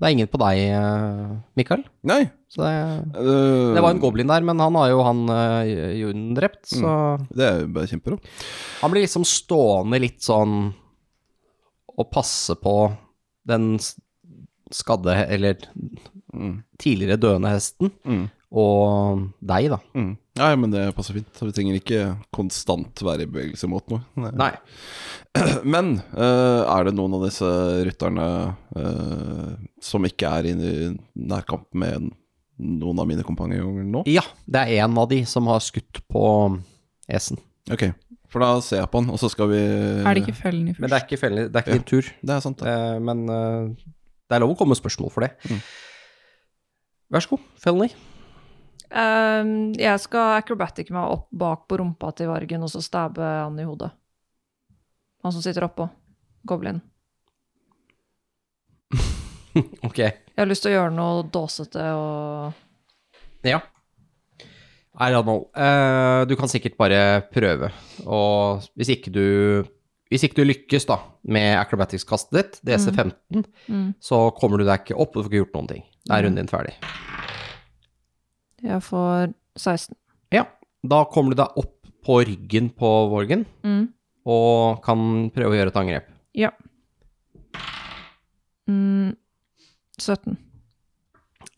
B: Det er ingen på deg, eh, Mikael.
F: Nei
B: Så det,
F: øh,
B: det var en goblin der, men han har jo han eh, Jorden drept, så
F: Det er jo bare kjempebra.
B: Han blir liksom stående litt sånn og passe på den s- skadde, eller
F: Mm.
B: tidligere døende hesten
F: Mm.
B: og deg, da.
F: Mm. Nei, men det passer fint. Vi trenger ikke konstant være i bevegelse mot noe. Nei.
B: Nei.
F: Men eh, er det noen av disse rytterne eh, som ikke er inne i nærkamp med noen av mine kompanjonger nå?
B: Ja, det er en av de som har skutt på esen.
F: Ok, for da ser jeg på han, og så skal vi
C: Er det ikke fellen i
B: Eh, Men det
C: først?
B: er ikke, fellen, det er
F: Ja.
B: ikke din tur.
F: Det er sant, det.
B: Eh, men eh, det er lov å komme med spørsmål for det.
F: Mm.
B: Vær så god, Felny.
E: Ehm, jeg skal acrobatic meg opp bak på rumpa til vargen og så stabbe han i hodet. Han som sitter oppå. Goblin.
B: Ok.
E: Jeg har lyst til å gjøre noe dåsete og
B: Ja. Nei, Randvold, eh, du kan sikkert bare prøve. Og hvis ikke du, hvis ikke du lykkes da, med acrobatics-kastet ditt, DC15,
E: Mm.
B: så kommer du deg ikke opp, og du får ikke gjort noen ting. Da er runden din ferdig.
E: Jeg får 16.
B: Ja, da kommer du deg opp på ryggen på Vorgen,
E: Mm.
B: og kan prøve å gjøre et angrep.
E: Ja. Mm. 17.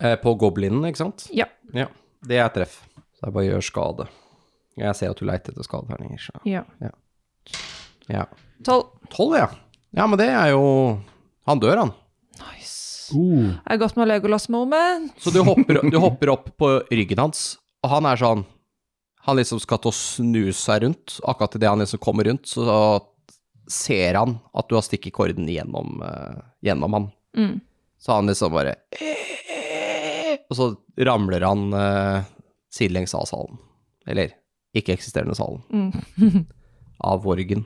B: Eh, på goblinen, ikke sant?
E: Ja.
B: Ja, det er treff. Så jeg bare gjør skade. Jeg ser at du leiter etter skadeterninger. så-
E: Ja.
B: Ja.
E: 12.
B: Tolv, ja. Ja, men det er jo Han dør, han.
E: Nice.
D: Uh,
E: Jeg har gått med Legolas moment.
B: Så du hopper, du hopper opp på ryggen hans, og han er sånn Han liksom skal til å snu seg rundt. Akkurat idet han liksom kommer rundt, så ser han at du har stikket korden gjennom, eh, gjennom han.
E: Mm.
B: Så han liksom bare Og så ramler han eh, sidelengs av salen. Eller ikke-eksisterende salen.
E: Mm.
B: Av Vorgen.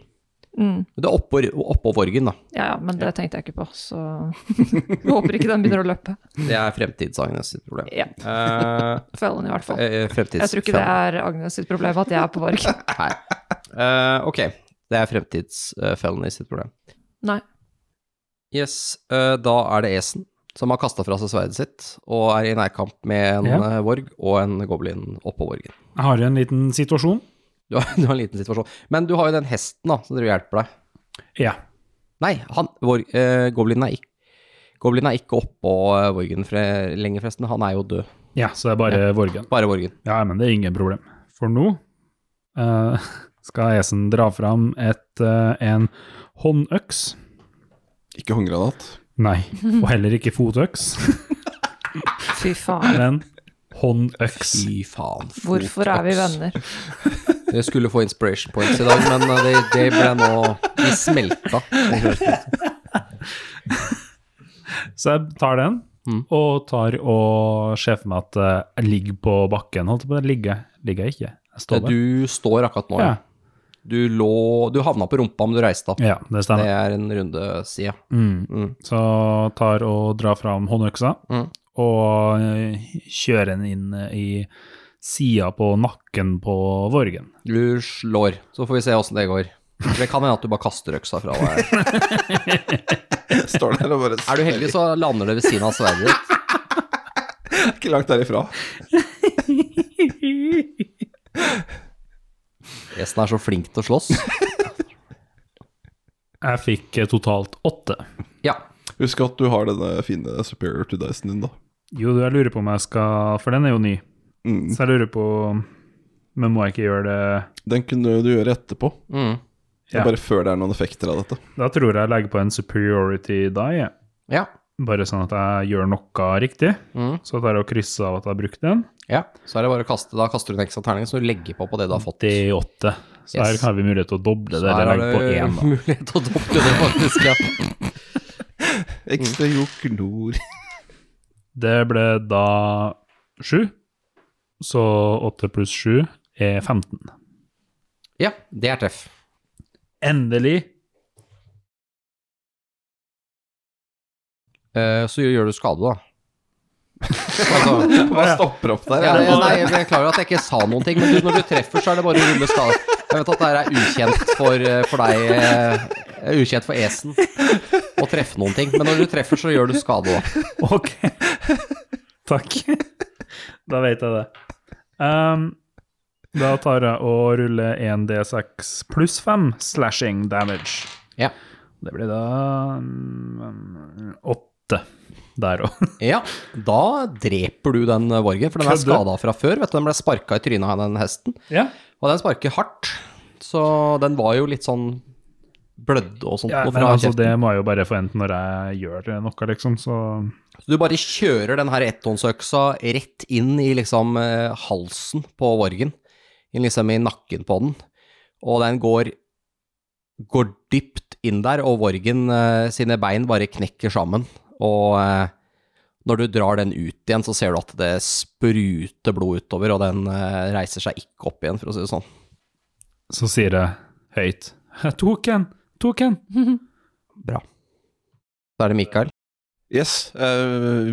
E: Mm.
B: Men Det er oppå, oppå Vorgen, da.
E: Ja, ja, men det tenkte jeg ikke på, så jeg håper ikke den begynner å løpe.
B: Det er fremtids Agnes sitt problem.
E: Ja,
B: Eh,
E: Fellen i hvert fall.
B: eh, fremtids...
E: Jeg tror ikke det er Agnes sitt problem at jeg er på Varg.
B: Nei. Eh, ok. Det er fremtidsfellen i sitt problem.
E: Nei.
B: Yes, eh, da er det Esen som har kasta fra seg sverdet sitt og er i nærkamp med en
D: Ja.
B: eh, Vorg og en goblin oppå Vorgen.
D: jeg har en liten situasjon.
B: Du har, du har en liten situasjon. Men du har jo den hesten da, som driver og hjelper deg.
D: Ja.
B: Nei, han, vår, eh, goblinen, er ikke, goblinen er ikke oppå eh, Vorgen fre, lenger, forresten. Han er jo død.
D: ja, så det er bare Vorgen.
B: Bare Vorgen.
D: Ja, men det er ingen problem. For nå eh, skal Esen dra fram et, eh, en håndøks.
F: Ikke håndgranat.
D: Nei, og heller ikke fotøks,
E: Fy faen.
D: men håndøks.
B: Fy faen.
E: Hvorfor er vi venner?
B: Dere skulle få inspiration points i dag, men eh, det, det ble nå De smelta.
D: Så jeg tar den,
B: Mm.
D: og tar og ser for meg at eh, jeg ligger på bakken. Holdt jeg på å ligge. Ligger jeg ikke? Jeg står der.
B: Du står akkurat nå, ja.
D: Ja.
B: Du lå Du havna på rumpa, men du reiste deg opp.
D: Ja, det
B: Det
D: stemmer.
B: er en runde side.
D: Mm.
B: Mm.
D: Så tar og drar fram håndøksa
B: Mm.
D: og eh, kjører den inn eh, i sida på nakken på Vorgen.
B: Du slår, så får vi se åssen det går. Det kan hende at du bare kaster øksa fra deg.
F: Står der og bare
B: Er du heldig, så lander det ved siden av sverdet ditt.
F: Ikke langt derifra.
B: Gjesten er så flink til å slåss.
D: Jeg fikk eh, totalt åtte.
B: Ja.
F: Husk at du har denne fine superior to dicen din, da.
D: Jo, du, jeg lurer på om jeg skal For den er jo ny,
F: Mm.
D: så jeg lurer på Men må jeg ikke gjøre det
F: Den kunne du gjøre etterpå.
B: Mm.
D: Ja.
F: Det er Bare før det er noen effekter av dette.
D: Da tror jeg jeg legger på en superiority die, jeg.
B: Ja.
D: bare sånn at jeg gjør noe riktig.
B: Mm.
D: Så tar jeg og krysser av at jeg har brukt den.
B: ja. Så er det bare å kaste. Da kaster du en ekstra terning, så du legger på på det du har fått.
D: 88. Så
B: Yes.
D: her har vi mulighet til å doble
B: Så her
D: det. Eller
B: er
D: legge på
B: det
D: én. da.
B: mulighet til å doble det, faktisk. Ja.
F: Ekstra jokk nord.
D: Det ble da sju. Så åtte pluss sju er 15.
B: ja, det er treff.
D: Endelig!
B: Eh, Så gjør du skade, da. Altså,
F: Hva stopper opp der?
B: ja,
F: Er det-
B: nei, jeg beklager at jeg ikke sa noen ting, men du, når du treffer, så er det bare å rulle skade. Jeg vet at det her er ukjent for, eh, for deg eh, Ukjent for Esen å treffe noen ting, men når du treffer, så gjør du skade òg.
D: Ok. Takk. Da vet jeg det. Ehm, da tar jeg og ruller 1D6 pluss 5 slashing damage.
B: Ja.
D: Det blir da mm, åtte. der òg.
B: Ja, da dreper du den eh, vorgen, for den er
D: Kødder.
B: skada fra før. vet du, Den ble sparka i trynet av den hesten,
D: Ja.
B: og den sparker hardt. Så den var jo litt sånn blødde og sånt.
D: Ja,
B: noe
D: men
B: fra
D: altså,
B: kjeften.
D: det må jeg jo bare forvente når jeg gjør noe, liksom. Så
B: Så du bare kjører den her etthåndsøksa rett inn i liksom eh, halsen på vorgen. Inn liksom i nakken på den. Og den går, går dypt inn der, og vorgen eh, sine bein bare knekker sammen. Og eh, når du drar den ut igjen, så ser du at det spruter blod utover, og den eh, reiser seg ikke opp igjen, for å si det sånn.
D: Så sier jeg høyt Jeg tok en! Tok en!
B: Bra. Så er det Mikael.
F: Yes, eh,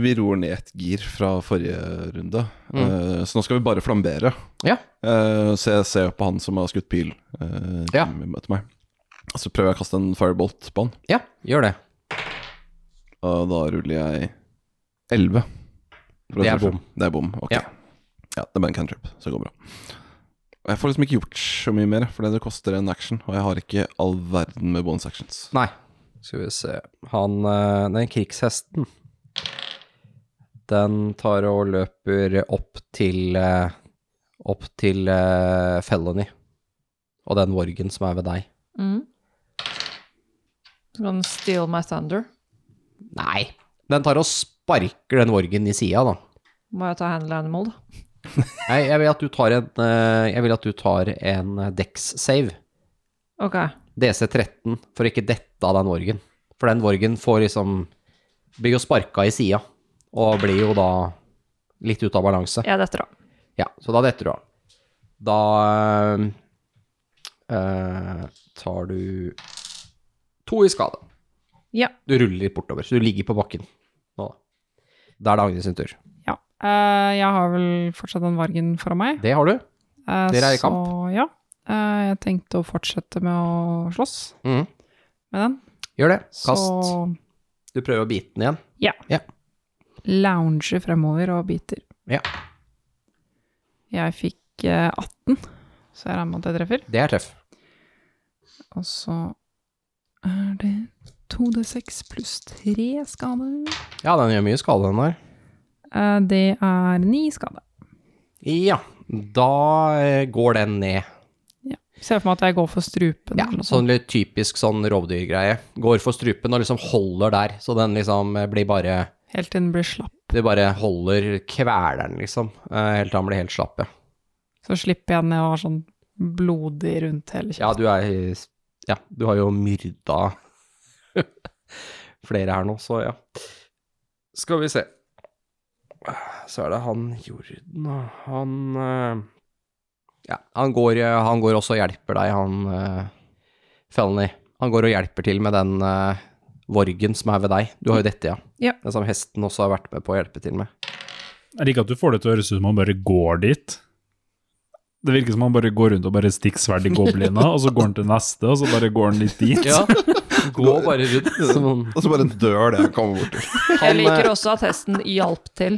F: vi ror ned et gir fra forrige runde.
B: Mm.
F: Eh, så nå skal vi bare flambere.
B: Ja.
F: Eh, så jeg ser på han som har skutt pil eh,
B: Ja.
F: til meg. Så prøver jeg å kaste en firebolt på han.
B: Ja, gjør det.
F: Og da ruller jeg 11. For å
B: Det er
F: treffe.
B: bom.
F: Det er bom, ok.
B: Ja.
F: Ja. det er bare en cantrip, så det går bra. Og jeg får liksom ikke gjort så mye mer, for det koster en action, og jeg har ikke all verden med bonus actions.
B: Nei. Skal vi se Han eh, Den krigshesten. Den tar og løper opp til eh, Opp til eh, Felony. Og den vorgen som er ved deg.
E: Mm. Så kan du steal my thunder.
B: Nei. Den tar og sparker den vorgen i sida, da.
E: Må jeg ta handle animal, da?
B: Nei, jeg vil at du tar en eh, Jeg vil at du tar en Dex-save.
E: Ok.
B: DC13, for å ikke dette av den vorgen. For den vorgen får liksom Blir jo sparka i sida, og blir jo da litt ute av balanse.
E: Jeg detter av.
B: Ja, så da detter du av. Da eh, tar du to i skade.
E: Ja.
B: Du ruller litt bortover, så du ligger på bakken nå. Da er det Agnes sin tur.
C: Ja. Eh, jeg har vel fortsatt den vargen foran meg.
B: Det har du.
C: Eh,
B: Dere er i
C: Så ja. Eh, jeg tenkte å fortsette med å slåss
B: Mhm.
C: med den.
B: Gjør det.
C: Så
B: Kast. Du prøver å bite den igjen.
C: lounger fremover og biter.
B: Ja.
C: Jeg fikk eh, 18, så jeg regner med at jeg treffer.
B: Det er treff.
C: Og så er det 2D6 pluss 3 skader.
B: Ja, den gjør mye skade, den der.
C: Eh, det er 9 skade.
B: Ja. Da eh, går den ned.
C: Ser for meg at jeg går for strupen.
B: Ja,
C: eller noe sånt.
B: sånn litt typisk sånn rovdyrgreie. Går for strupen og liksom holder der, så den liksom eh, blir bare
C: Helt til den blir slapp.
B: Det bare holder kveleren, liksom. eh, Helt til han blir helt slapp, ja.
C: Så slipper jeg ned og har sånn blodig rundt hele
B: Ja,
C: kjeften.
B: du er Ja, du har jo myrda flere her nå, så ja. Skal vi se. Så er det han Jorden, da. Han eh, Ja, han går, eh, han går også og hjelper deg, han eh, Felny. Han går og hjelper til med den eh, vorgen som er ved deg. Du har jo dette, ja.
E: Ja.
B: Den som hesten også har vært med på å hjelpe til med.
D: Jeg liker at du får det til å høres ut som han bare går dit. Det virker som han bare går rundt og bare stikker sverd i goblina, og så går han til neste, og så bare går han litt dit.
B: Ja. Gå bare rundt som en
F: Og så bare en dør det han kommer bort til.
E: Jeg liker også at hesten hjalp til.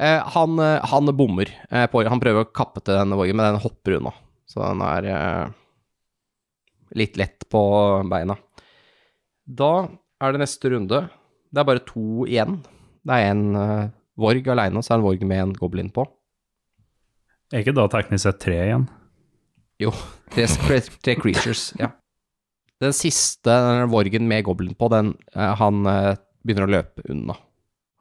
B: Eh, han, eh, han bommer. Eh, på, han prøver å kappe til denne voggen, men den hopper unna. Så den er eh, litt lett på beina. Da er det neste runde. Det er bare to igjen. Det er en eh, Vorg aleine, så er det en Vorg med en goblin på.
D: Er ikke da teknisk sett tre igjen?
B: Jo, tre, tre, tre creatures, ja. Den siste den Vorgen med goblin på, den, eh, han eh, begynner å løpe unna.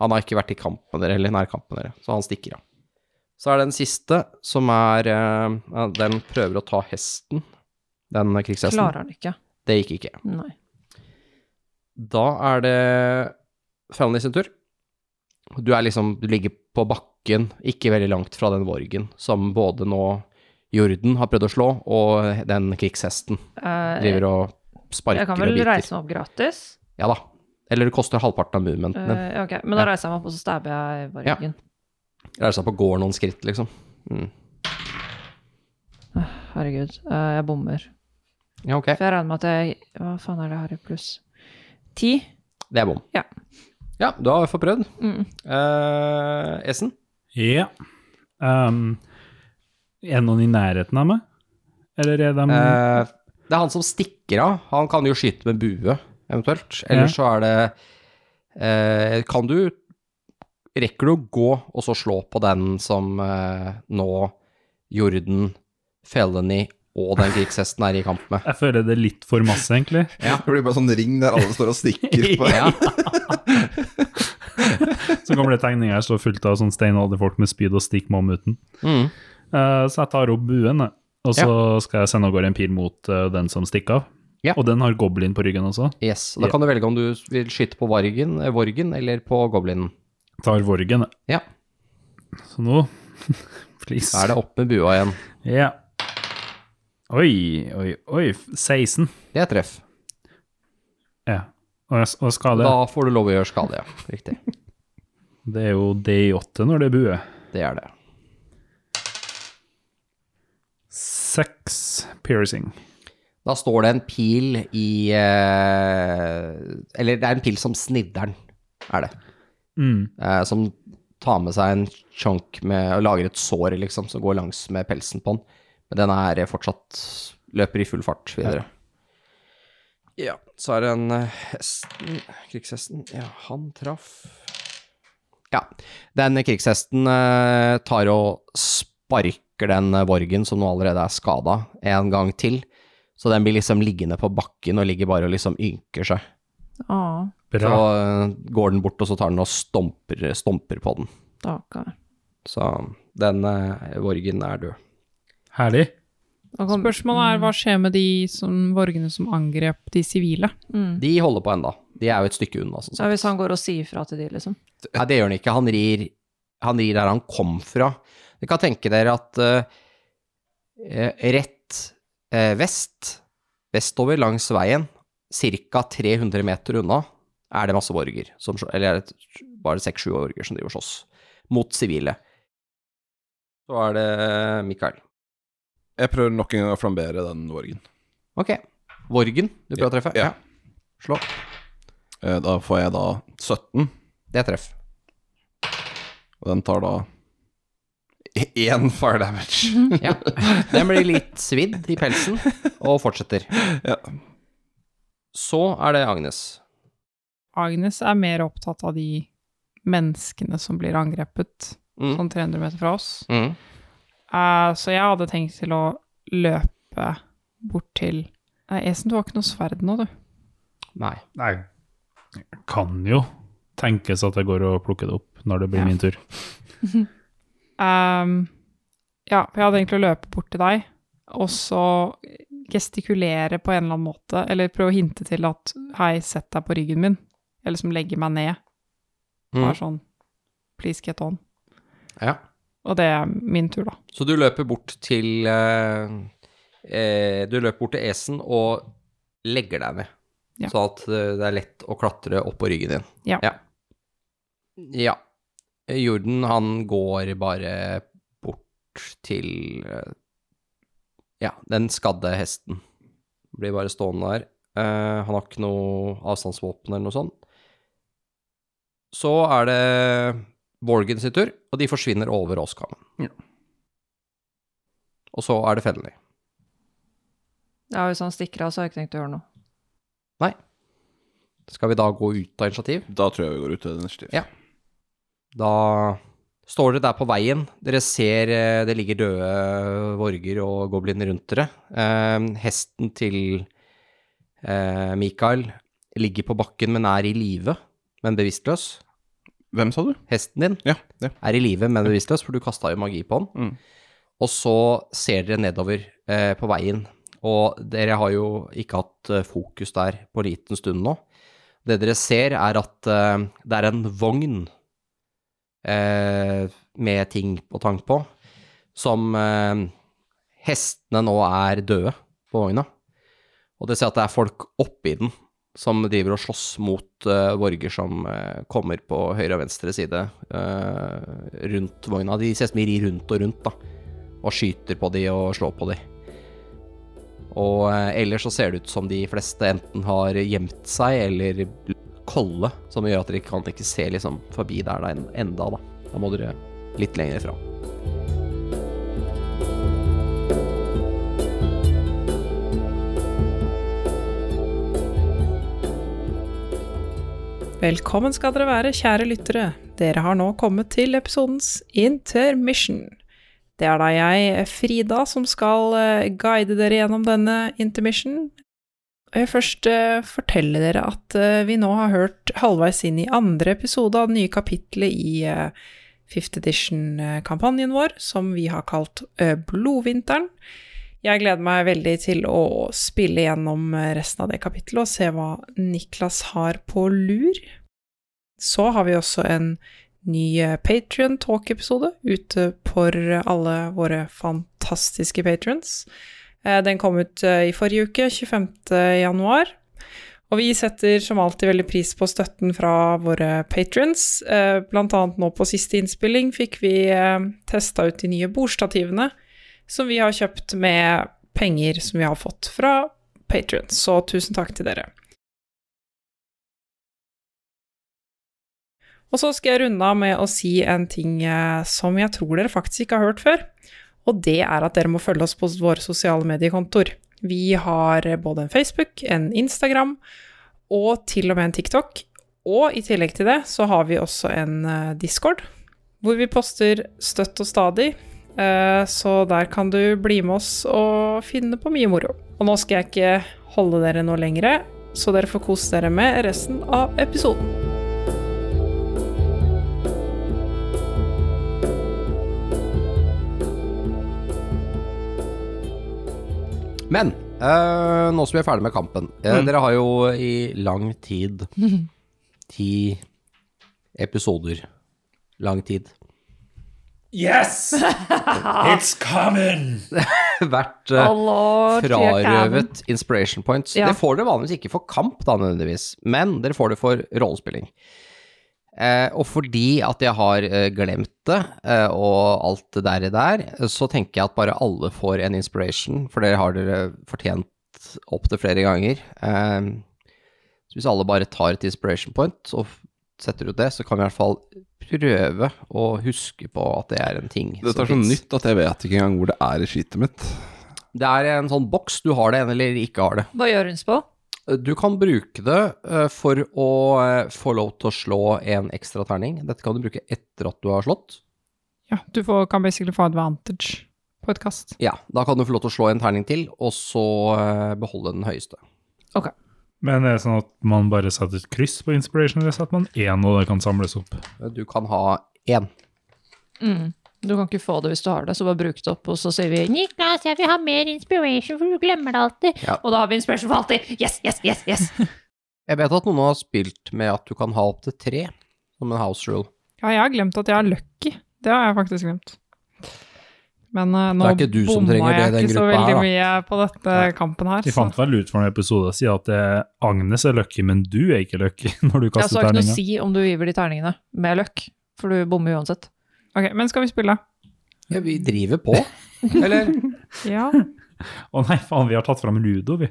B: Han har ikke vært i kamp med dere, eller nær kamp med dere, så han stikker av. Så er det den siste, som er eh, ja, Den prøver å ta hesten, den krigshesten.
E: Klarer han ikke.
B: Det gikk ikke.
E: Nei.
B: Da er det Felny sin tur. Du er liksom Du ligger på bakken, ikke veldig langt fra den Vorgen, som både nå Jorden har prøvd å slå, og den krigshesten
E: Eh,
B: driver og
E: jeg
B: sparker
E: kan
B: og
E: vel
B: biter.
E: reise meg opp gratis?
B: Ja da. Eller det koster halvparten av movementen din.
E: Eh, ok, Men da reiser jeg meg opp, og så stabber jeg vargen.
B: Reiser deg på gården noen skritt, liksom. Mm.
E: Herregud, eh, jeg bommer.
B: Ja, ok.
E: For jeg regner med at jeg Hva faen er det her i pluss? Ti?
B: Det er bom.
E: Ja.
B: Ja, du har i hvert fall prøvd.
E: Mm.
B: Eh, Essen?
D: Ja. Ehm, er noen i nærheten av meg? Eller er de
B: Eh, det er han som stikker av. Han kan jo skyte med bue, eventuelt.
D: Ja.
B: Eller så er det Eh, kan du Rekker du å gå og så slå på den som eh, nå Jordan, Felony og den krigshesten er i kamp med?
D: Jeg føler det er litt for masse, egentlig.
F: Det blir bare sånn ring der alle står og stikker på.
B: Ja,
D: Så gamle tegninger står fullt av sånn steinalderfolk med spyd og stikk mammuten.
B: mm.
D: Eh, så jeg tar opp buen, jeg. og så skal jeg sende av gårde en pil mot eh, den som stikker av.
B: Ja.
D: Og den har goblin på ryggen også.
B: Yes. Da kan du velge om du vil skyte på vargen, eh, vorgen eller på goblinen.
D: Tar vorgen,
B: Ja,
D: jeg. Så nå Please.
B: da er det opp med bua igjen.
D: Ja. Oi, oi, oi. 16.
B: Det er treff.
D: Ja. Og, jeg- og skade.
B: Da får du lov å gjøre skade, ja. Riktig.
D: Det er jo D8 når det er bue.
B: Det er det.
D: Seks piercing.
B: Da står det en pil i eh, Eller det er en pil som snidder'n, er det.
D: Mm.
B: Eh, som tar med seg en chunk med, og lager et sår, liksom, som går langs med pelsen på den. Men den er eh, fortsatt løper i full fart videre. Ja, så er det en eh, hesten Krigshesten Ja, han traff Ja. Den krigshesten eh, tar og sparker den eh, vorgen som nå allerede er skada, en gang til. Så den blir liksom liggende på bakken og ligger bare og liksom ynker seg.
E: Å,
D: Bra.
B: Så eh, går den bort, og så tar den og stomper, stomper på den.
E: stakkar.
B: Så den eh, vorgen er død.
D: Herlig.
E: Nå kom-
C: Spørsmålet er hva skjer med de som, borgerne som angrep de sivile?
E: Mm.
B: De holder på enda. De er jo et stykke unna. Sånn
E: Ja,
B: sett.
E: hvis han går og sier fra til de, liksom.
B: Nei, det gjør han ikke. Han rir, han rir der han kom fra. Dere kan tenke dere at eh, eh, rett eh, vest, vestover langs veien, ca. 300 meter unna, er det masse borger, som, slå- eller er det t- bare 6-7 borger som driver og slåss, mot sivile. Så er det Mikael.
F: Jeg prøver nok en gang å flambere den vorgen.
B: Ok. Vorgen du prøver å treffe?
F: Ja.
B: Slå.
F: Eh, Da får jeg da 17,
B: Det er treff.
F: og den tar da e-, én fire damage.
B: Ja. Den blir litt svidd i pelsen, og fortsetter.
F: Ja.
B: Så er det Agnes.
C: Agnes er mer opptatt av de menneskene som blir angrepet,
B: Mm.
C: sånn 300 meter fra oss.
B: Mm.
C: Eh, så jeg hadde tenkt til å løpe bort til Nei, Esen, du har ikke noe sverd nå, du.
B: Nei.
D: Nei. Kan jo tenkes at jeg går og plukker det opp når det blir
C: Ja.
D: min tur.
C: Ehm, ja, for jeg hadde egentlig å løpe bort til deg, og så gestikulere på en eller annen måte, eller prøve å hinte til at hei, sett deg på ryggen min, eller som legger meg ned.
B: Mm.
C: Bare sånn, please get on.
B: Ja.
C: Og det er min tur, da.
B: Så du løper bort til eh, eh, Du løper bort til Esen og legger deg ned,
C: Ja.
B: sånn at eh, det er lett å klatre opp på ryggen din.
C: Ja.
B: ja. Ja. Jordan, han går bare bort til eh, Ja, den skadde hesten. Blir bare stående der. Eh, han har ikke noe avstandsvåpen eller noe sånt. Så er det Borgen sin tur, og de forsvinner over åskammen. Og så er det Fennelly.
E: Ja, hvis han stikker av, så har jeg ikke tenkt å gjøre noe.
B: Skal vi da gå ut av initiativ?
F: Da tror jeg vi går ut til initiativ.
B: Ja. Da står dere der på veien. Dere ser eh, det ligger døde vorger og gobliner rundt dere. Eh, hesten til eh, Mikael ligger på bakken, men er i live, men bevisstløs.
F: Hvem sa du?
B: Hesten din
F: Ja, det.
B: er i live, men bevisstløs, for du kasta jo magi på den.
F: Mm.
B: Og så ser dere nedover eh, på veien, og dere har jo ikke hatt eh, fokus der på en liten stund nå. Det dere ser, er at eh, det er en vogn eh, med ting på tang på, som eh, hestene nå er døde på vogna. Og det ser at det er folk oppi den som driver og slåss mot eh, borger som eh, kommer på høyre og venstre side eh, rundt vogna. De ses mye rundt og rundt, da. Og skyter på de og slår på de. Og eh, ellers så ser det ut som de fleste enten har gjemt seg eller kolde, som gjør at dere kan ikke se liksom forbi der da en- enda, da. Da må dere litt lenger fram.
C: Velkommen skal dere være, kjære lyttere. Dere har nå kommet til episodens intermission. Det er da jeg, Frida, som skal eh, guide dere gjennom denne intermission. Jeg vil først eh, fortelle dere at eh, vi nå har hørt halvveis inn i andre episode av det nye kapitlet i eh, Fifth Edition-kampanjen vår, som vi har kalt eh, Blodvinteren. Jeg gleder meg veldig til å spille gjennom eh, resten av det kapittelet og se hva Niklas har på lur. Så har vi også en ny Patrion Talk-episode ute for alle våre fantastiske patrons. Eh, Den kom ut eh, i forrige uke, 25. januar. Og vi setter som alltid veldig pris på støtten fra våre patrons. Eh, Blant annet nå på siste innspilling fikk vi eh, testa ut de nye bordstativene som vi har kjøpt med penger som vi har fått fra Patrion. Så tusen takk til dere. Og så skal jeg runde av med å si en ting eh, som jeg tror dere faktisk ikke har hørt før. Og det er at dere må følge oss på våre sosiale mediekontoer. Vi har både en Facebook, en Instagram og til og med en TikTok. Og i tillegg til det så har vi også en eh, Discord, hvor vi poster støtt og stadig Eh, Så der kan du bli med oss og finne på mye moro. Og nå skal jeg ikke holde dere noe lengre, så dere får kose dere med resten av episoden.
B: Men eh, nå som vi er ferdig med kampen eh, Dere har jo i lang tid Ti episoder. Lang tid.
G: Yes! It's coming!
B: Vært eh,
E: Å, lord, you can.
B: frarøvet inspiration points.
E: Ja.
B: Det får dere vanligvis ikke for kamp, da, nødvendigvis, men dere får det for rollespilling. Eh, og fordi at jeg har eh, glemt det, eh, og alt det der, der, så tenker jeg at bare alle får en inspiration, for dere har dere fortjent opp til flere ganger. Eh, så hvis alle bare tar et inspiration point og f- setter ut det, så kan vi i hvert fall prøve å huske på at det er en ting.
F: Dette
B: som
F: er så
B: finnes.
F: sånn nytt at jeg vet ikke engang hvor det er i skitet mitt.
B: Det er en sånn boks. Du har det en eller ikke har det.
E: Hva gjør hun på?
B: Du kan bruke det eh, for å eh, få lov til å slå en ekstra terning. Dette kan du bruke etter at du har slått.
C: Ja, du får, kan basically få advantage på et kast.
B: Ja, da kan du få lov til å slå en terning til, og så eh, beholde den høyeste.
D: Men er det sånn at man bare setter et kryss på inspiration, eller setter man én, og det kan samles opp?
B: Eh, Du kan ha én.
E: Mm. Du kan ikke få det hvis du har det, så bare bruk det opp, og så sier vi
H: Niklas, jeg vil ha mer inspiration, for du glemmer det alltid.
E: Og da har vi inspiration for alltid! Yes, yes, yes! yes.
B: Jeg vet at noen har spilt med at du kan ha opptil tre, som en house rule.
C: Ja, jeg har glemt at jeg er lucky. Det har jeg faktisk glemt. Men eh, nå
B: Det er ikke du som
C: bomma
B: trenger det i
C: jeg
B: den
C: ikke så
B: gruppa her,
C: veldig
B: da.
C: mye på dette kampen her.
D: Vi
C: Så.
D: fant vel ut for noen episoder siden at eh, Agnes er lucky, men du er ikke lucky når du
E: Jeg
D: kaster
E: har ikke noe å
D: terninga.
E: si om du giver de terningene med løkk, for du bommer uansett.
C: Ok, men skal vi spille?
B: Ja, vi driver på. Eller
C: Ja.
D: Å nei, faen, vi har tatt fram Ludo, vi.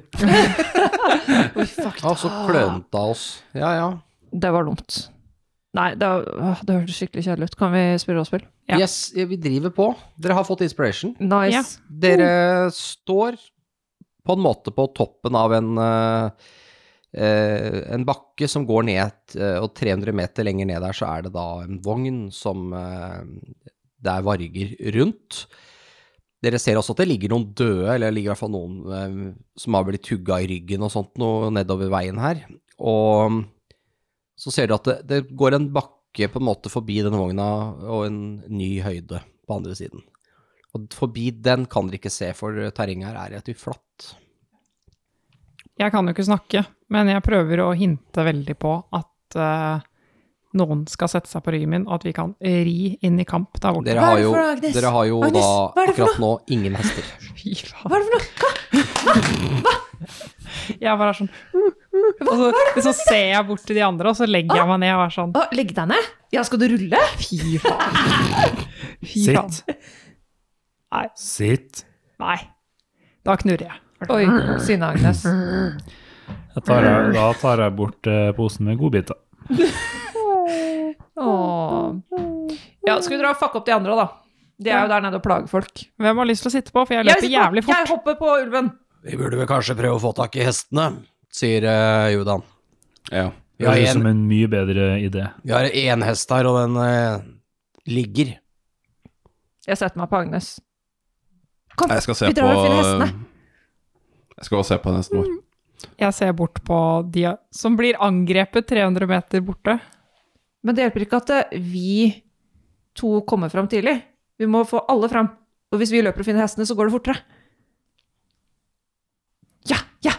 B: Ja, så klønete av oss. Ja, ja.
E: Det var dumt. Nei, det, åh, det hørtes skikkelig kjedelig ut. Kan vi spille rollespill?
C: Ja.
B: Yes, vi driver på. Dere har fått inspiration.
E: Nice.
C: Ja.
B: Dere står på en måte på toppen av en, eh, eh, en bakke som går ned, eh, og 300 meter lenger ned der så er det da en vogn som eh, det er varger rundt. Dere ser også at det ligger noen døde, eller det ligger i hvert fall noen eh, som har blitt hugga i ryggen og sånt noe nedover veien her. Og mm, så ser dere at det, det går en bakke på en måte forbi denne vogna og en ny høyde på andre siden. Og forbi den kan dere ikke se, for terrenget her er relativt flatt.
C: Jeg kan jo ikke snakke, men jeg prøver å hinte veldig på at eh, noen skal sette seg på ryggen min, og at vi kan ri inn i kamp der borte.
B: Dere har jo, dere har jo da akkurat nå ingen hester.
C: Fy faen. Hva er det for noe? Hva? Jeg bare er sånn og så, så ser jeg bort til de andre, og så legger jeg meg ned og er sånn
E: Å, legg deg ned! Ja, skal du rulle?
C: Fy faen. Fy faen.
D: Sitt.
C: Nei.
D: Sitt.
C: Nei. Da knurrer jeg.
E: Oi, Synne Agnes.
D: Jeg tar, da tar jeg bort eh, posen med godbiter.
E: Åh. Ja, skal vi dra og fucke opp de andre, da? De er jo der nede og plager folk.
C: Hvem har lyst til å sitte på? For jeg
E: Jeg
C: løper
E: sitter på-
C: jævlig fort.
E: Jeg hopper på ulven!
B: Vi burde vel kanskje prøve å få tak i hestene, sier eh, Judan.
F: Ja.
B: Vi har
D: Høres ut
B: en-
D: som en mye bedre idé.
B: Vi har én hest her, og den eh, ligger.
E: Jeg setter meg på Agnes.
F: Nei, Jeg skal se
E: Vi
F: på eh,
E: drar og finner hestene. Mm.
F: Jeg skal også se på hesten vår.
C: Jeg ser bort på de som blir angrepet 300 meter borte.
E: Men det hjelper ikke at eh, vi to kommer fram tidlig. Vi må få alle fram. Og hvis vi løper og finner hestene, så går det fortere. Ja, ja!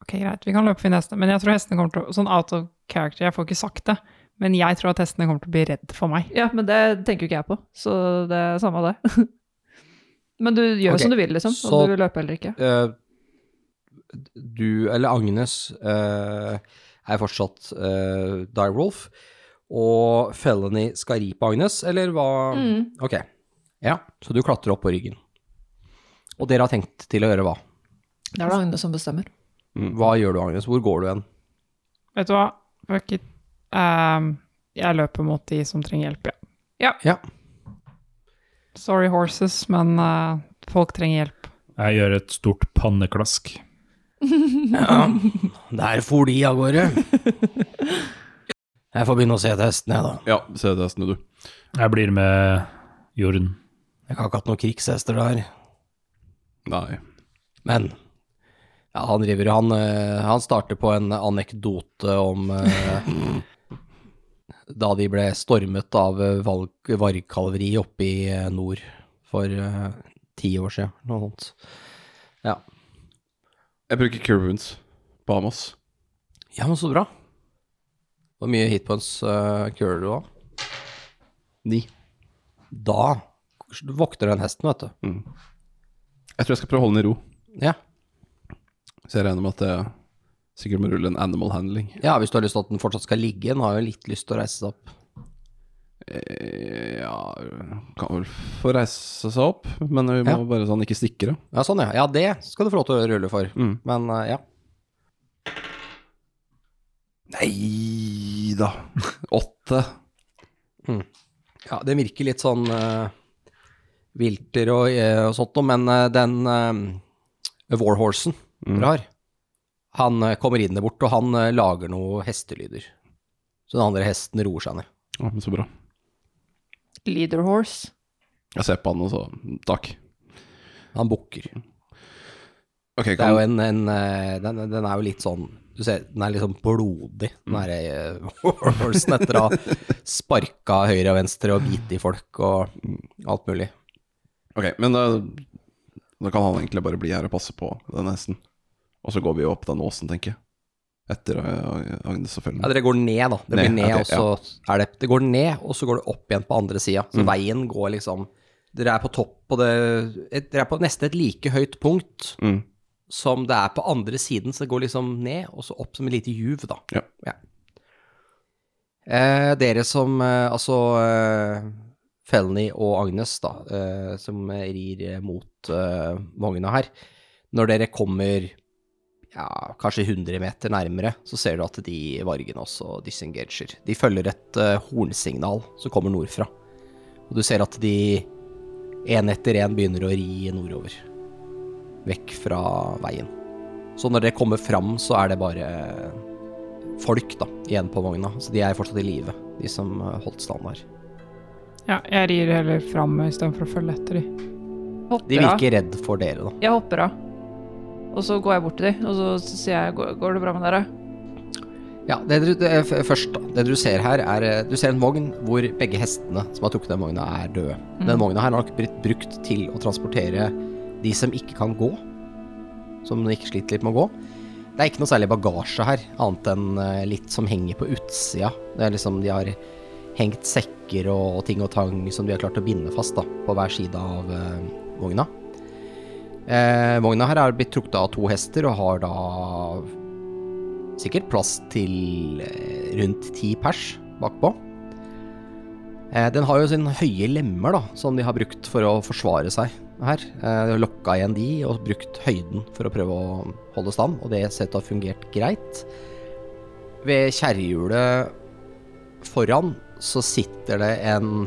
C: Ok, greit, vi kan løpe og finne hestene, men jeg tror hestene kommer til å Sånn out of character, jeg får ikke sagt det, men jeg tror at hestene kommer til å bli redd for meg.
E: Ja, men det tenker jo ikke jeg på, så det er samme av det. men du gjør
B: Ok,
E: som du vil, liksom.
B: så-
E: Om du vil løpe eller ikke.
B: Eh, du, eller Agnes, eh, er fortsatt uh, Die Wolf, og Felony skal ri på Agnes, eller hva?
E: Mm.
B: Ok, ja, så du klatrer opp på ryggen. Og dere har tenkt til å gjøre hva?
E: Det er det Agnes som bestemmer.
B: Hva gjør du, Agnes? Hvor går du hen?
C: Vet du hva, Fuck it. Ehm, jeg løper mot de som trenger hjelp, ja.
B: Ja.
C: Sorry horses, men eh, folk trenger hjelp.
D: Jeg gjør et stort panneklask.
B: Der for de av gårde. Jeg får begynne å se til hestene, jeg da.
F: Ja, se til hestene, du.
D: Jeg blir med Jorden.
B: Jeg har ikke hatt noen krigshester der.
F: Nei.
B: Men ja, han driver han, eh, han starter på en anekdote om eh, da de ble stormet av eh, valg- vargkalveri oppe i eh, nord for eh, ti år siden, noe sånt. Ja.
F: Jeg bruker Cure Wounds. Bahamas.
B: ja, men så bra. Hvor mye hitpoints uh, curer du da? Ni. Da vokter den hesten, vet du.
F: Jeg tror jeg skal prøve å holde den i ro.
B: Ja.
F: Så jeg regner med at jeg sikkert må rulle en animal handling.
B: ja, hvis du har lyst til at den fortsatt skal ligge. Den har jo litt lyst til å reise seg opp.
F: Eh, Ja Kan vel få reise seg opp, men vi må
B: Ja.
F: bare sånn ikke stikke det.
B: Ja, sånn ja. Ja, det skal du få lov til å rulle for.
F: Mm.
B: Men eh, ja.
F: Nei da. Åtte.
B: Mm. ja. Den virker litt sånn eh, vilter og, eh, og sånt noe, men eh, den eh, warhorsen
F: Mm.
B: dere har, han eh, kommer inn der bort, og han eh, lager noe hestelyder. Så den andre hesten roer seg ned.
F: Ja, men så bra.
E: Leader horse.
F: Jeg ser på han og så Takk.
B: Han bukker.
F: Ok,
B: Det er jo en,
F: kan,
B: en eh, den, den er jo litt sånn Du ser, den er litt sånn blodig, den derre eh, horsen, etter å ha sparka høyre og venstre og bitt i folk og alt mulig.
F: ok, men da, da kan han egentlig bare bli her og passe på den hesten. Og så går vi jo opp den åsen, tenker jeg. Etter eh, Agnes og
B: Ja,
F: følgen.
B: dere går ned, da. Det blir
F: Ned,
B: ned,
F: ok,
B: og så er det Det går ned, og så går det opp igjen på andre sida. Så veien går liksom Dere er på topp, og det et, Dere er på nesten et like høyt punkt
F: Mm.
B: som det er på andre siden, så det går liksom ned, og så opp som et lite juv, da.
F: Ja.
B: Eh, dere som eh, Altså eh, Felny og Agnes, da, eh, som rir eh, mot eh, vogna her. Når dere kommer ja, kanskje 100 meter nærmere, så ser du at de vargene også disengager. De følger et eh, hornsignal som kommer nordfra. Og du ser at de én etter én begynner å ri nordover. Vekk fra veien. Så når dere kommer fram, så er det bare folk da, igjen på vogna. Så de er fortsatt i live, de som eh, holdt stand her.
C: Ja, jeg rir heller fram istedenfor å følge etter de.
E: Hopper
B: De
E: av.
B: virker redd for dere, da.
E: Jeg hopper av. Og så går jeg bort til dem, og så sier jeg går, går det bra med dere?
B: Ja, det du, det, f- først, da. Det du ser her, er eh, Du ser en vogn hvor begge hestene som har trukket den vogna, er døde. Den vogna her har nok blitt brukt til å transportere de som ikke kan gå. Som ikke sliter litt med å gå. Det er ikke noe særlig bagasje her, annet enn eh, litt som henger på utsida. Det er liksom de har hengt sekker og ting og tang som de har klart å binde fast da, på hver side av eh, vogna. Eh, vogna her er blitt trukket av to hester og har da sikkert plass til eh, rundt ti pers bakpå. Eh, den har jo sine høye lemmer da, som de har brukt for å forsvare seg her. Eh, de har lokka igjen de og brukt høyden for å prøve å holde stand, og det ser ut til å ha fungert greit. Ved kjerrehjulet foran så sitter det en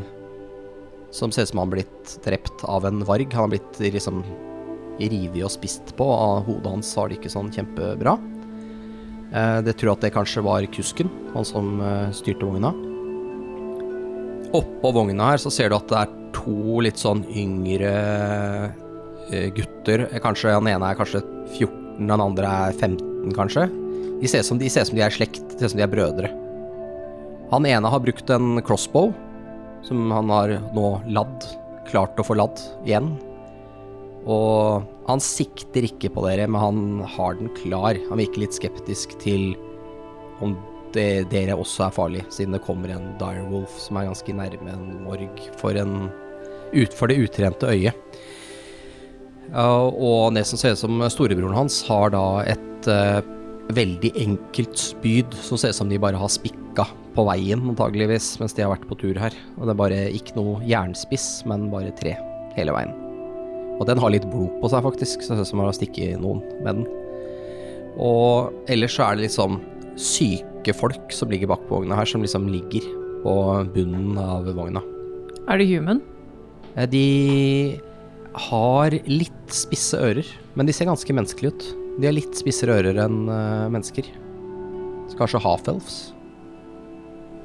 B: som ser ut som han har blitt drept av en varg. Han har blitt liksom revet og spist på, og hodet hans har det ikke sånn kjempebra. Eh, Det tror jeg at det kanskje var kusken, han som eh, styrte vogna. Oppå vogna her så ser du at det er to litt sånn yngre eh, gutter. Eh, Kanskje Den ene er kanskje 14, den andre er 15, kanskje. De ser ut som, de ser ut som de er slekt, de ser ut som de er brødre. Han ene har brukt en crossbow, som han har nå ladd. Klart å få ladd igjen. Og han sikter ikke på dere, men han har den klar. Han virker litt skeptisk til om det, dere også er farlig, siden det kommer en direwolf som er ganske nærme en morg for, en, ut, for det utrente øyet. Ja, og det som ser ut som storebroren hans, har da et eh, veldig enkelt spyd som ser ut som de bare har spikka på veien, antageligvis, mens de har vært på tur her. Og det er bare ikke noe jernspiss, men bare tre hele veien. Og den har litt blod på seg, faktisk, så det ser ut som man har stikket noen med den. Og ellers så er det liksom syke folk som ligger bak på vogna her, som liksom ligger på bunnen av vogna.
E: Er det human?
B: Eh, De har litt spisse ører, men de ser ganske menneskelige ut. De har litt spissere ører enn eh, mennesker. Så kanskje half-elves?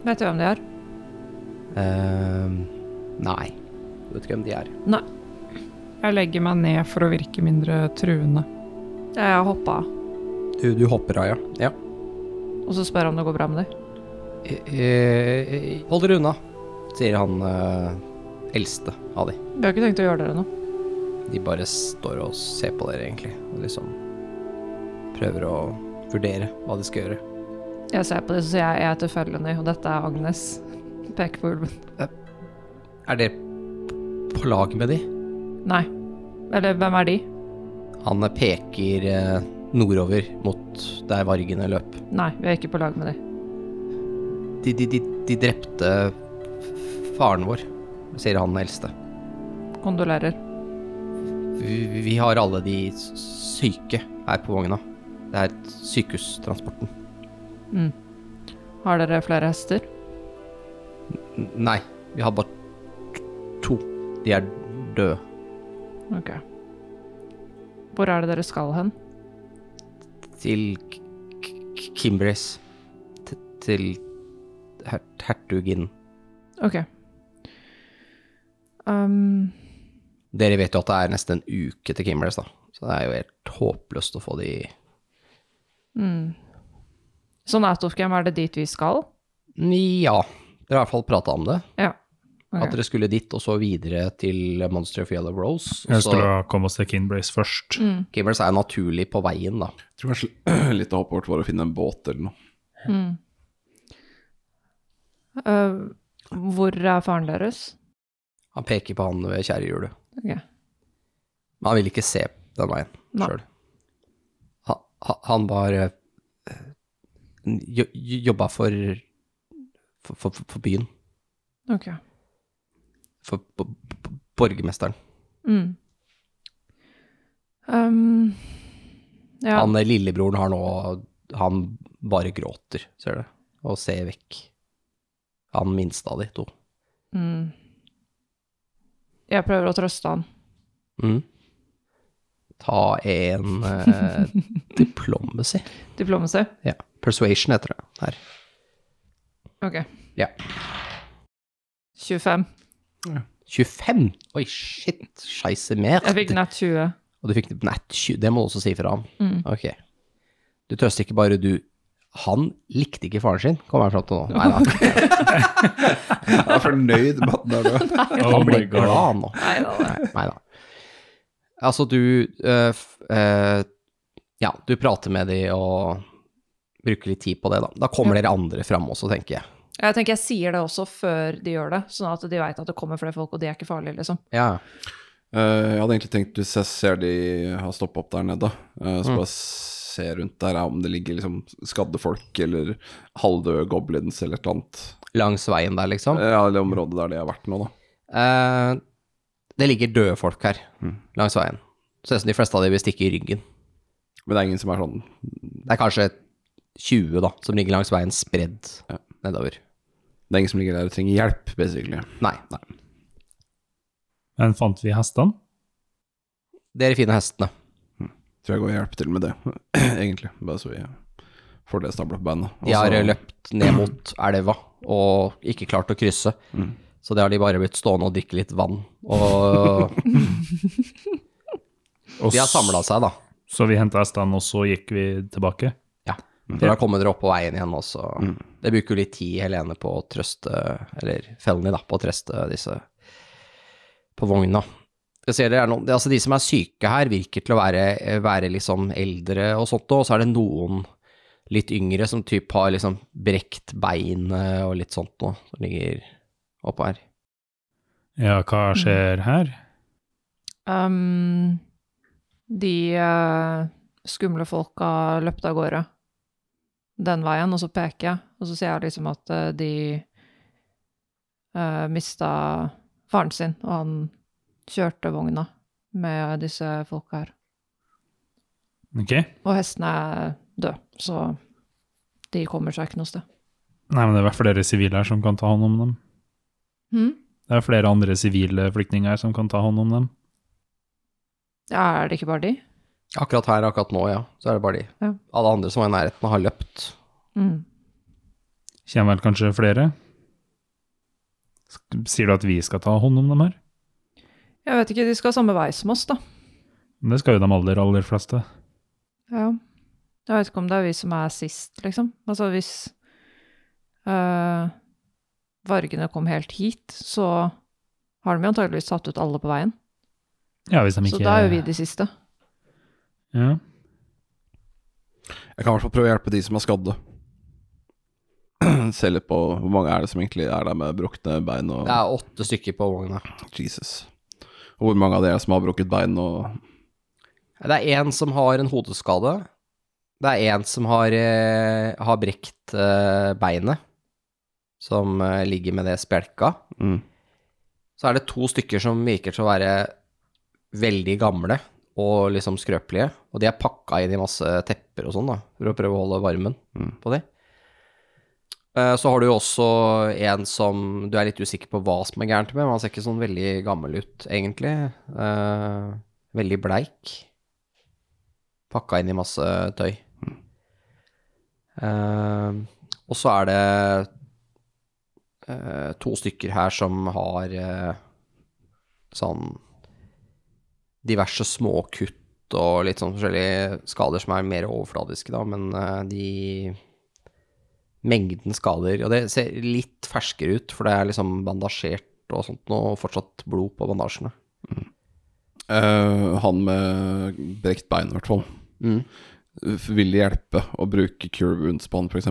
E: Vet du hvem de er?
B: Eh, nei. Du vet ikke hvem de er.
C: Jeg legger meg ned for å virke mindre truende.
E: Jeg har hoppa av.
B: Du, du hopper av, ja. ja.
E: Og så spør jeg om det går bra med dem.
B: Eh, eh, Hold dere unna, sier han eh, eldste av de.
E: Vi har ikke tenkt å gjøre dere noe.
B: De bare står og ser på dere, egentlig, og liksom prøver å vurdere hva de skal gjøre.
E: Jeg ser på det, så sier jeg jeg heter Felony, og dette er Agnes. Peker på ulven.
B: Er dere på lag med de?
E: Nei. Eller hvem er de?
B: Han peker eh, nordover mot der vargene løp.
E: Nei, vi er ikke på lag med de.
B: De, de, de, de drepte f- faren vår, sier han eldste.
E: Kondolerer.
B: Vi, vi- vi har alle de s- syke her på vogna. Det er sykehustransporten.
E: Har dere flere hester?
B: N- Nei, vi har bare t- to. De er døde.
E: Ok. Hvor er det dere skal hen?
B: Til K- K- Kimbris. T- Til her hertuginnen.
E: Ok. Um,
B: Dere vet jo at det er nesten en uke til Kimbris, da. Så det er jo helt håpløst å få de
E: hmm. sånn out of game, er det dit vi skal?
B: Ja. Dere har i hvert fall prata om det.
E: Ja.
B: At dere skulle dit, og så videre til Monster of Yellow Rose. Og
D: Jeg
B: så
D: skulle ha kommet oss til Kinbrace først.
B: Kimbris er naturlig på veien, da.
F: Jeg tror kanskje litt av hoppet vårt var å finne en båt eller noe.
E: Mm. Uh, hvor er faren deres?
B: Han peker på han ved kjerrehjulet.
E: Ok.
B: Men han ville ikke se den veien
E: Nei.
B: sjøl. Han var eh, jo- jo- Jobba for for, for, for byen.
E: Ok.
B: For b- b- borgermesteren.
E: Mm. Um, ja.
B: Han eh, lillebroren har nå Han bare gråter, ser du, og ser vekk. Han minste av de to.
E: Mm. Jeg prøver å trøste han.
B: Mm. Ta en eh, diplomacy.
E: Diplomacy?
B: Ja. Persuasion heter det her.
E: Ok.
B: Ja.
E: 25.
B: 25! Oi, shit! Scheisse mer.
E: Jeg fikk nett 20.
B: Og du fikk nett 20, det må du også si fra ham.
E: Mm.
B: Ok. Du trøster ikke bare du. Han likte ikke faren sin, kommer jeg fram til nå. Nei da.
F: Jeg er fornøyd med at den er død.
D: Oh
B: Han ble
D: my god.
B: glad nå.
E: Nei da.
B: Nei da. Altså, du øh, f- øh, Ja, du prater med de og bruker litt tid på det, da. Da kommer dere andre fram også, tenker jeg.
E: Jeg tenker jeg sier det også før de gjør det, sånn at de veit at det kommer flere folk, og de er ikke farlige, liksom.
B: Ja.
F: Eh, jeg hadde egentlig tenkt, hvis jeg ser de har stoppa opp der nede, eh, så bare se rundt der om det ligger liksom skadde folk eller halvdøde goblins eller et eller annet.
B: Langs veien der, liksom.
F: Ja, eller området der de har vært nå, da.
B: Eh, det ligger døde folk her langs veien. Ser ut som de fleste av dem vil stikke i ryggen.
F: Men det er ingen som er sånn
B: Det er kanskje 20 da, som ligger langs veien spredd nedover.
F: Det er ingen som ligger der og trenger hjelp, basically.
B: Nei, nei.
D: Men fant vi hestene?
B: Dere finner hestene.
F: Tror jeg går og hjelper til med det, egentlig. Bare så vi fordelstabla på bandet.
B: De har løpt ned mot elva og ikke klart å krysse. Så det har de bare blitt stående og drikke litt vann. Og
D: Og
B: de har samla seg, da.
D: Så vi henta hestene, og så gikk vi tilbake.
B: Ja. For da kommer dere opp på veien igjen også. Det bruker jo litt tid, Helene, på å trøste Eller Felny, da, på å trøste disse på vogna. Jeg ser det er noen, altså De som er syke her, virker til å være, være liksom eldre og sånt, og så er det noen litt yngre som typ har liksom brekt beinet og litt sånt noe, som ligger oppå her.
D: Ja, hva
E: Mm.
D: skjer her?
E: Um, de eh, skumle folka løpte av gårde den veien, og så peker jeg. Og så sier jeg liksom at eh, de uh, mista faren sin, og han kjørte vogna med disse folka her.
D: Ok?
E: Og hestene er døde, så de kommer seg ikke noe sted.
D: Nei, men det er vel flere sivile her som kan ta hånd om dem.
E: Hm?
D: Det er flere andre sivile flyktninger her som kan ta hånd om dem.
E: Ja, er det ikke bare de?
B: Akkurat her, akkurat nå, ja. Så er det bare de.
E: Ja.
B: Alle andre som var i nærheten, har løpt.
E: Mm.
D: Kommer vel kanskje flere? Sk- Sier du at vi skal ta hånd om dem her?
E: Jeg vet ikke, de skal samme vei som oss, da.
D: Men det skal jo de aller, aller fleste.
E: Ja. Jeg vet ikke om det er vi som er sist, liksom. Altså hvis øh, vargene kom helt hit, så har de jo antageligvis tatt ut alle på veien.
D: Ja, hvis de ikke
E: Så da er jo vi de siste.
D: Ja.
F: Jeg kan i hvert fall prøve å hjelpe de som er skadde. Se litt på hvor mange er det som egentlig er der med brukne bein og
B: Det er åtte stykker på vogna.
F: Jesus. Og hvor mange av dere som har brukket bein og
B: Det er en som har en hodeskade. Det er en som har, eh, har brekt eh, beinet, som eh, ligger med det spjelka.
F: Mm.
B: Så er det to stykker som virker til å være veldig gamle og liksom skrøpelige, og de er pakka inn i masse tepper og sånn, da, for å prøve å holde varmen
F: Mm.
B: på de. Eh, Så har du jo også en som du er litt usikker på hva som er gærent med, men han ser ikke sånn veldig gammel ut, egentlig. Eh, Veldig bleik. Pakka inn i masse tøy. Eh, og så er det eh, to stykker her som har eh, sånn diverse småkutt og litt sånn forskjellige skader som er mer overfladiske, da, men eh, de Mengden skader Og det ser litt ferskere ut, for det er liksom bandasjert og sånt nå, og fortsatt blod på bandasjene.
F: Eh, Han med brekt bein, i hvert fall.
B: Mm.
F: Vil det hjelpe å bruke cure wounds på han, f.eks.?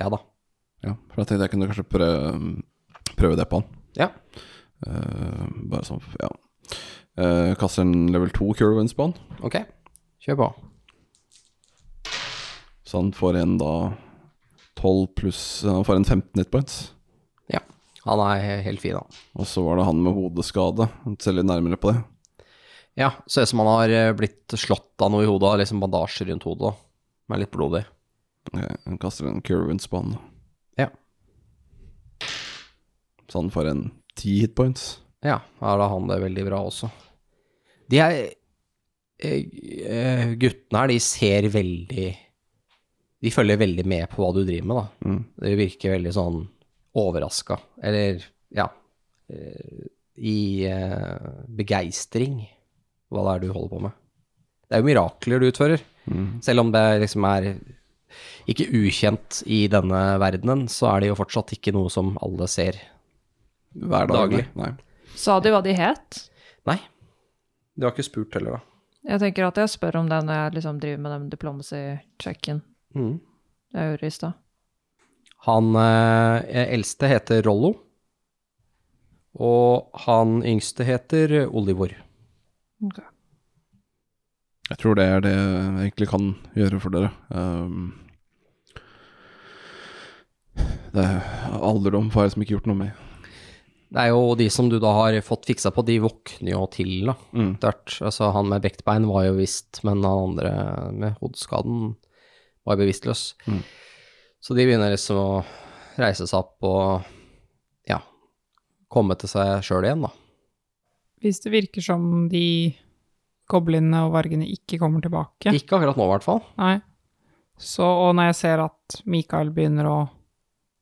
B: Ja da.
F: Ja, for jeg tenkte jeg kunne kanskje prøve, prøve det på han.
B: Ja.
F: Eh, bare sånn, ja. Eh, kaster en level 2 cure wounds på han,
B: Ok, kjør på.
F: så han får en da 12 pluss Han får en 15 hit points.
B: Ja. Han er he- helt fin, han.
F: Og så var det han med hodeskade. Se litt nærmere på det.
B: Ja, ser ut som han har eh, blitt slått av noe i hodet, liksom bandasje rundt hodet, da. Men litt blodig.
F: Ok, Han kaster en cure wounds på han. da.
B: Ja.
F: Så han får en 10 hit points.
B: Ja, her har han det veldig bra også. De her eh, eh, guttene her, de ser veldig De følger veldig med på hva du driver med, da.
F: Mm.
B: De virker veldig sånn overraska, eller ja eh, I eh, begeistring, hva det er du holder på med. Det er jo mirakler du utfører. Selv om det liksom er ikke ukjent i denne verdenen, så er det jo fortsatt ikke noe som alle ser.
F: Hver dag.
B: Daglig.
F: Nei.
E: Sa de hva de het?
B: Nei. Du har ikke spurt heller, da.
E: Jeg tenker at jeg spør om det når jeg liksom driver med den diplomacy-checken
B: Mm.
E: jeg gjorde i stad.
B: Han eh, eldste heter Rollo, og han yngste heter Olivor.
F: Jeg tror det er det jeg egentlig kan gjøre for dere. Ehm, det er alderdom får jeg liksom ikke gjort noe med.
B: Det er jo de som du da har fått fiksa på, de våkner jo til, da. Etter hvert. Altså, han med brekt bein var jo visst, men han andre med hodeskaden var bevisstløs.
F: Mm.
B: Så de begynner liksom å reise seg opp og ja, komme til seg sjøl igjen, da.
C: Hvis det virker som de goblene og vargene ikke kommer tilbake.
B: Ikke akkurat nå, i hvert fall.
C: Nei. Så, og når jeg ser at Mikael begynner å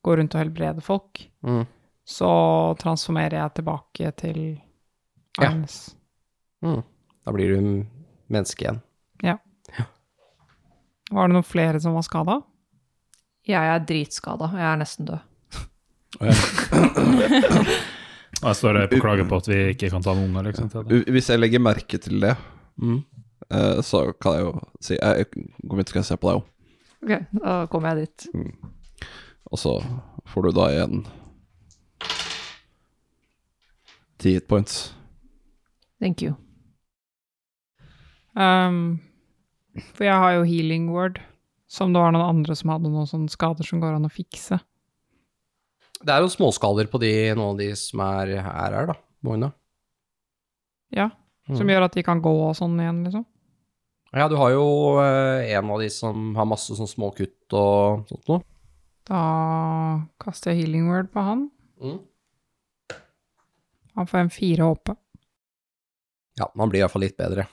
C: gå rundt og helbrede folk,
B: Mhm.
C: så transformerer jeg tilbake til
B: Ja.
C: Agnes.
B: Da blir du m- menneske igjen.
C: Var det noen flere som var skada?
E: Jeg er dritskada, og jeg er nesten død.
D: Og jeg står her og klager på at vi ikke kan ta med unger, liksom. Til det.
F: U- Hvis jeg legger merke til det,
B: Mm.
F: eh, så kan jeg jo si Jeg jeg kommer hit og skal se på deg òg.
E: Ok, Da kommer jeg dit.
F: Og så får du da igjen ti hit points.
E: Thank you.
C: Ehm, for jeg har jo healing word, som det var noen andre som hadde noen sånne skader som går an å fikse.
B: Det er jo småskaler på de, noen av de som er her, her da, Moina.
C: Ja, Som
B: Mm.
C: gjør at de kan gå og sånn igjen, liksom.
B: Ja, du har jo eh, en av de som har masse sånn små kutt og sånt noe.
C: Da kaster jeg healing word på han.
B: Mm.
C: Han får en fire HP.
B: Ja, man blir i hvert fall litt bedre.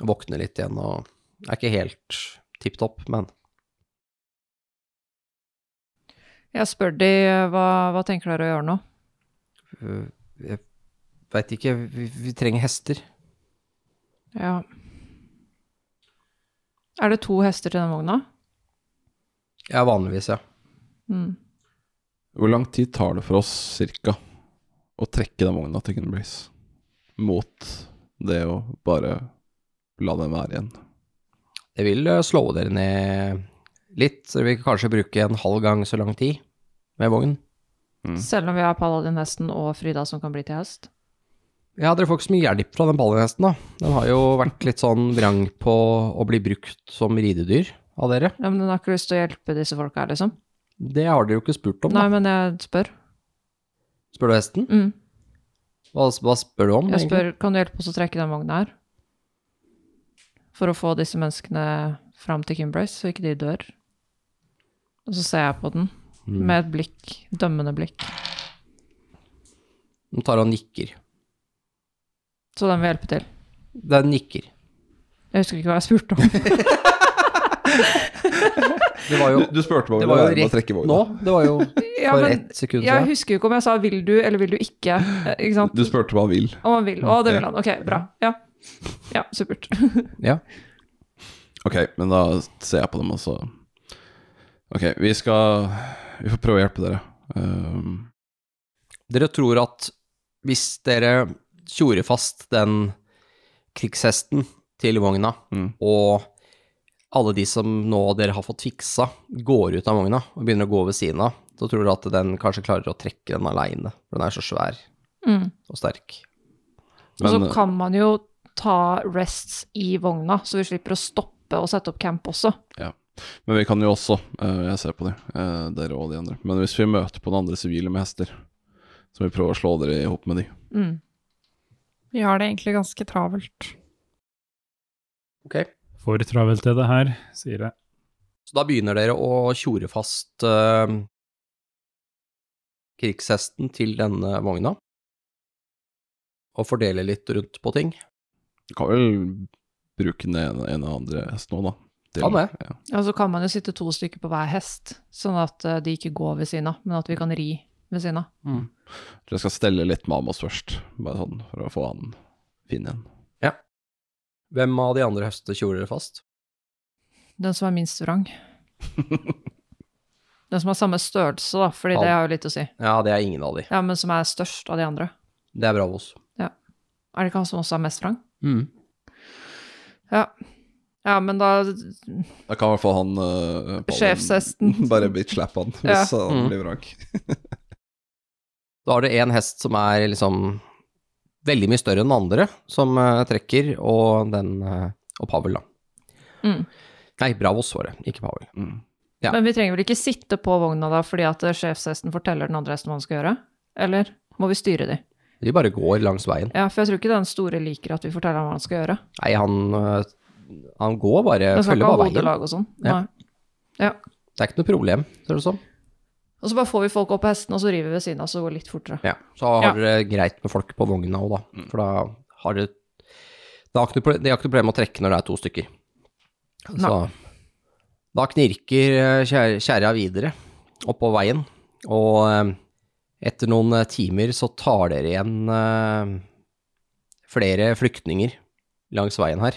B: Våkner litt igjen og er ikke helt tipp topp, men
E: Jeg spør de hva, hva tenker dere å gjøre nå?
B: øh, jeg veit ikke, vi, vi trenger hester.
E: Ja. Er det to hester til den vogna?
B: Ja, vanligvis, ja.
E: Mm.
F: Hvor lang tid tar det for oss cirka å trekke den vogna til Gunbreeze mot det å bare la den være igjen?
B: Det vil eh, slå dere ned litt, så dere vil kanskje bruke en halv gang så lang tid med vogn. Mm.
E: Selv om vi har paladin-hesten og Frida som kan bli til hest?
B: Ja, dere får ikke så mye hjelp fra den ballinhesten, da. Den har jo vært litt sånn vrang på å bli brukt som ridedyr av dere.
E: Ja, men Hun har ikke lyst til å hjelpe disse folka her, liksom.
B: Det har dere jo ikke spurt om,
E: Nei,
B: da.
E: men jeg spør.
B: Spør du hesten?
E: Mm.
B: Hva, hva spør du om,
E: Jeg
B: egentlig?
E: spør kan du hjelpe oss å trekke den vogna her? For å få disse menneskene fram til Kimbrace, så ikke de dør. Og så ser jeg på den
B: Mm.
E: med et blikk, dømmende blikk.
B: Den tar og nikker.
E: Så den vil hjelpe til.
B: Den nikker.
E: Jeg husker ikke hva jeg spurte om.
B: Det var jo,
F: Du, du spurte
B: det
F: meg om det
B: var
F: var
B: jo
F: med å
B: rett
F: trekke
B: nå.
F: vogna.
B: Det var jo
E: Ja,
B: for
E: men
B: ett sekund
E: jeg
B: siden.
E: husker jo ikke om jeg sa 'vil du' eller 'vil du ikke'. eh, Ikke sant?
F: Du spurte hva han vil.
E: Om han vil. Å, det vil
F: Ja.
E: han. Ok, bra. Ja, ja supert.
B: Ja.
F: Ok, men da ser jeg på dem, og så Ok, vi skal Vi får prøve å hjelpe dere. Ehm,
B: Dere tror at hvis dere tjorer fast den krigshesten til vogna,
F: Mm.
B: og alle de som nå dere har fått fiksa, går ut av vogna og begynner å gå ved siden av, så tror dere at den kanskje klarer å trekke den aleine, for den er så svær
E: Mm.
B: og sterk.
E: Og
F: Men-
E: så kan man jo ta rests i vogna, så vi slipper å stoppe og sette opp camp også.
F: men vi kan jo også eh, Jeg ser på de, eh, dere og de andre. Men hvis vi møter på noen andre sivile med hester, så må vi prøve å slå dere i hop med de.
E: Mm.
C: Vi har det egentlig ganske travelt.
D: For travelt er det her, sier jeg.
B: Så da begynner dere å tjore fast eh, krigshesten til denne vogna, og fordele litt rundt på ting.
F: Du kan vel bruke den ene ene og andre hesten òg, da. Til-
B: Kan det.
F: Ja.
E: Ja, så kan man jo sitte to stykker på hver hest, sånn at eh, de ikke går ved siden av, men at vi kan ri ved siden av.
F: Tror jeg skal stelle litt med Amos først, bare sånn for å få han fin igjen.
B: Hvem av de andre høstene tjorer dere fast?
E: Den som er minst vrang. Den som har samme størrelse, da, fordi det har jo litt å si.
B: Ja, det er ingen av de.
E: Ja, men som er størst av de andre.
B: Det er Bravos.
E: Er det ikke han som også er mest vrang?
B: Mm.
E: Ja. Ja, men da
F: Da kan i hvert fall han eh, Paladin
E: Sjefshesten.
F: Bare bitch-slappe han
E: Ja.
F: hvis han
B: Mm.
F: blir vrak.
B: Da har du en hest som er liksom veldig mye større enn den andre, som eh, trekker, og den eh, Og Pavel, da.
E: Mm.
B: Nei, Bravos var det, ikke Pavel.
F: Mm.
B: Ja.
E: Men vi trenger vel ikke sitte på vogna da fordi at eh, sjefshesten forteller den andre hesten hva han skal gjøre? Eller må vi styre de?
B: De bare går langs veien.
E: Ja, for jeg tror ikke den store liker at vi forteller ham hva han skal gjøre.
B: Nei, han eh, Han går bare,
E: Den skal
B: følger
E: ikke ha
B: bare veien.
E: hodelag og sånn.
B: Ja.
E: Nei.
B: Det er ikke noe problem, ser det ut som.
E: Og så bare får vi folk opp på hesten, og så river vi ved siden av, så det går litt fortere.
B: Ja, så har
C: Ja.
B: dere greit med folk på vogna òg, da. For da har dere Det har ikke noe pro- det har ikke noe problem å trekke når det er to stykker. Så Da knirker eh, kjer- kjerra videre oppå veien, og eh, etter noen eh, timer så tar dere igjen eh, flere flyktninger langs veien her,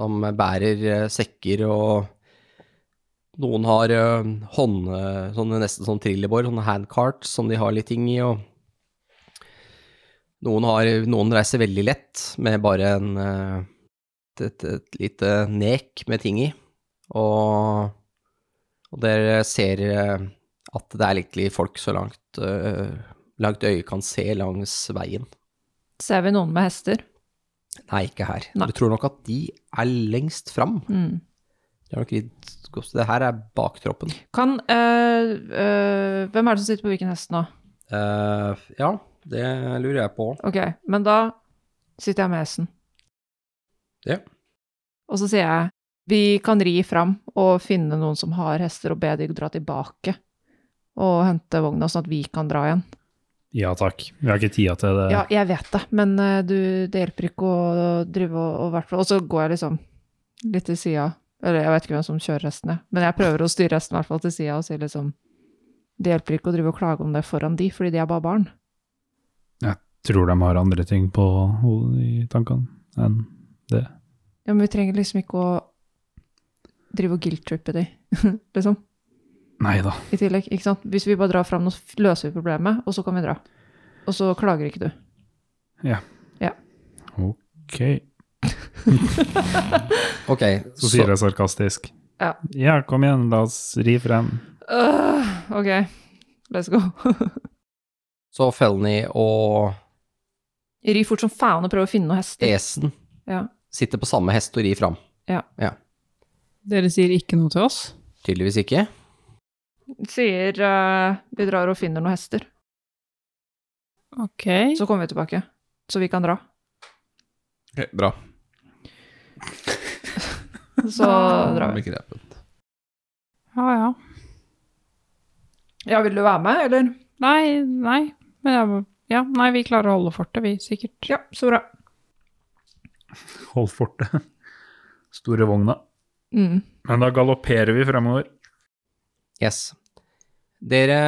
B: som bærer eh, sekker og noen har eh, hånd, eh, sånne nesten sånn trillebår, sånne handcarts som de har litt ting i, og noen, har, noen reiser veldig lett med bare en, eh, et, et, et lite nek med ting i. Og, og dere ser eh, at det er egentlig folk så langt, eh, langt øyet kan se langs veien.
E: Ser vi noen med hester?
B: Nei, ikke her.
E: Nei.
B: Du tror nok at de er lengst fram.
E: Mm.
B: Det, er nok litt, det her er baktroppen.
E: Kan øh, øh, Hvem er det som sitter på hvilken hest nå?
B: Eh, ja, det lurer jeg på.
E: Ok, men da sitter jeg med hesten.
B: Ja.
E: Og så sier jeg vi kan ri fram og finne noen som har hester, og be de dra tilbake og hente vogna, sånn at vi kan dra igjen.
D: Ja takk. Vi har ikke tida til det.
E: Ja, jeg vet det, men eh, du, det hjelper ikke å drive og, og hvertfall- Og så går jeg liksom litt til sida, eller jeg vet ikke hvem som kjører resten, jeg. men jeg prøver å styre resten i hvert fall til sida og si liksom Det hjelper ikke å drive og klage om det foran de, fordi de er bare barn.
D: Tror de har andre ting på hodet i tankene enn det.
E: Ja, men vi trenger liksom ikke å drive og guilt-trippe de, liksom.
D: Nei da.
E: I tillegg, ikke sant. Hvis vi bare drar fram, nå løser vi problemet, og så kan vi dra. Og så klager ikke du.
D: Ok.
B: Ok,
D: Så sier jeg sarkastisk.
E: Ja.
D: ja, kom igjen, la oss ri frem.
E: Øh, ok, let's go.
B: Så Felny og
E: Ri fort som faen og prøv å finne noen hester.
B: Esen
E: Ja.
B: sitter på samme hest og rir fram.
C: Dere sier ikke noe til oss?
B: Tydeligvis ikke.
E: Sier eh, vi drar og finner noen hester,
C: Ok.
E: så kommer vi tilbake. Så vi kan dra.
F: Ok, bra.
E: Så drar vi.
F: Begrepet.
C: Ja, ja.
E: Ja, vil du være med, eller?
C: Nei, nei. Men jeg, ja, nei, vi klarer å holde fortet, vi, sikkert.
E: Ja, så bra.
D: Hold fortet. Store vogna.
E: Mm.
D: Men da galopperer vi fremover.
B: Yes. Dere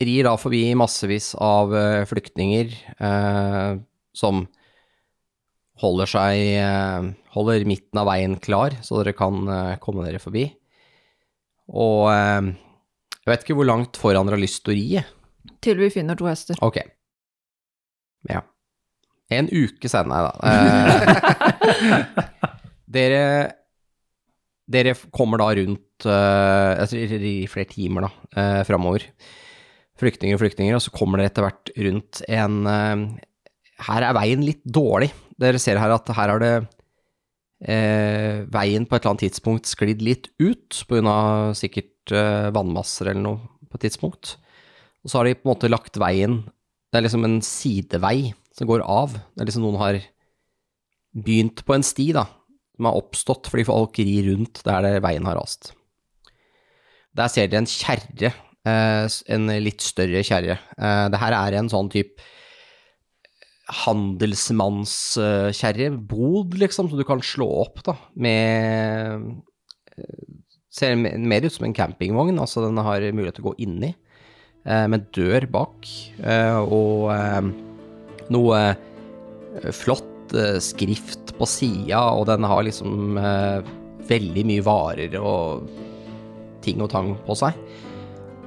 B: rir da forbi massevis av eh, flyktninger eh, som holder seg eh, Holder midten av veien klar, så dere kan eh, komme dere forbi. Og eh, jeg vet ikke hvor langt foran dere har lyst til å ri. jeg.
E: Til vi finner to hester.
B: Ok. Ja. En uke senere, da. Eh, dere Dere kommer da rundt eh, Jeg tror dere rir i flere timer, da, eh, framover. Flyktninger og flyktninger, og så kommer dere etter hvert rundt en eh, Her er veien litt dårlig. Dere ser her at her har det eh, veien på et eller annet tidspunkt sklidd litt ut, pga. sikkert eh, vannmasser eller noe på et tidspunkt. Og så har de på en måte lagt veien Det er liksom en sidevei som går av. Det er liksom noen har begynt på en sti, da, som har oppstått fordi folk rir rundt der det veien har rast. Der ser de en kjerre, eh, s- en litt større kjerre. Eh, Det her er en sånn type handelsmannskjerre, bod, liksom, som du kan slå opp, da, med eh, Ser me- mer ut som en campingvogn, altså den har mulighet til å gå inni eh, med dør bak, eh, og eh, noe eh, flott eh, skrift på sida, og den har liksom eh, veldig mye varer og ting og tang på seg.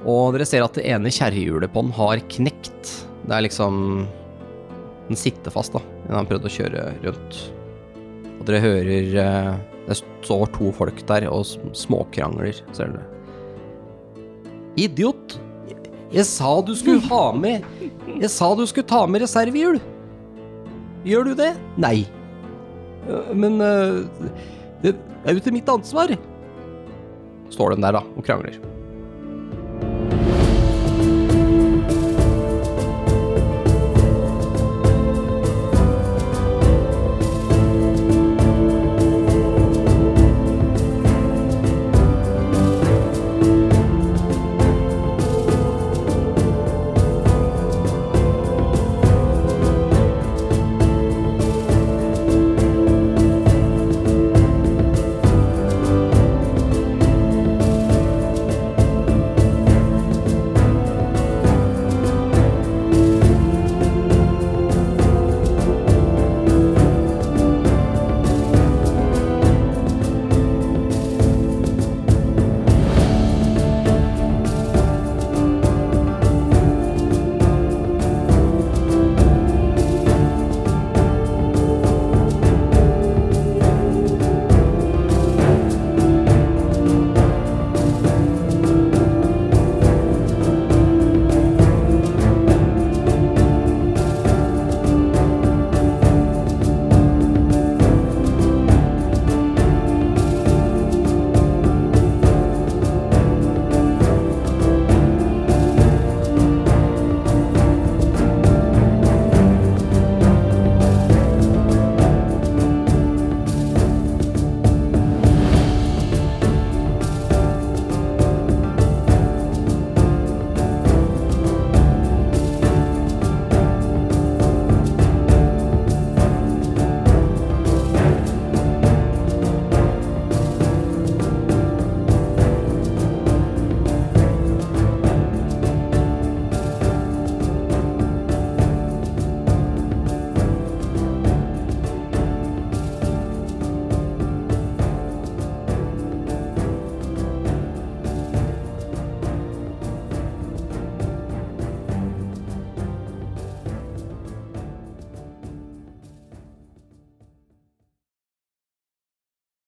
B: Og dere ser at det ene kjerrehjulet på den har knekt. Det er liksom Den sitter fast, da. Den har prøvd å kjøre rundt. Og dere hører eh, Det står to folk der og s- småkrangler, ser dere. Idiot! Jeg sa du skulle ha med Jeg sa du skulle ta med reservehjul. Gjør du det? Nei. «Øh, Men øh, det er jo ikke mitt ansvar. Står de der, da, og krangler.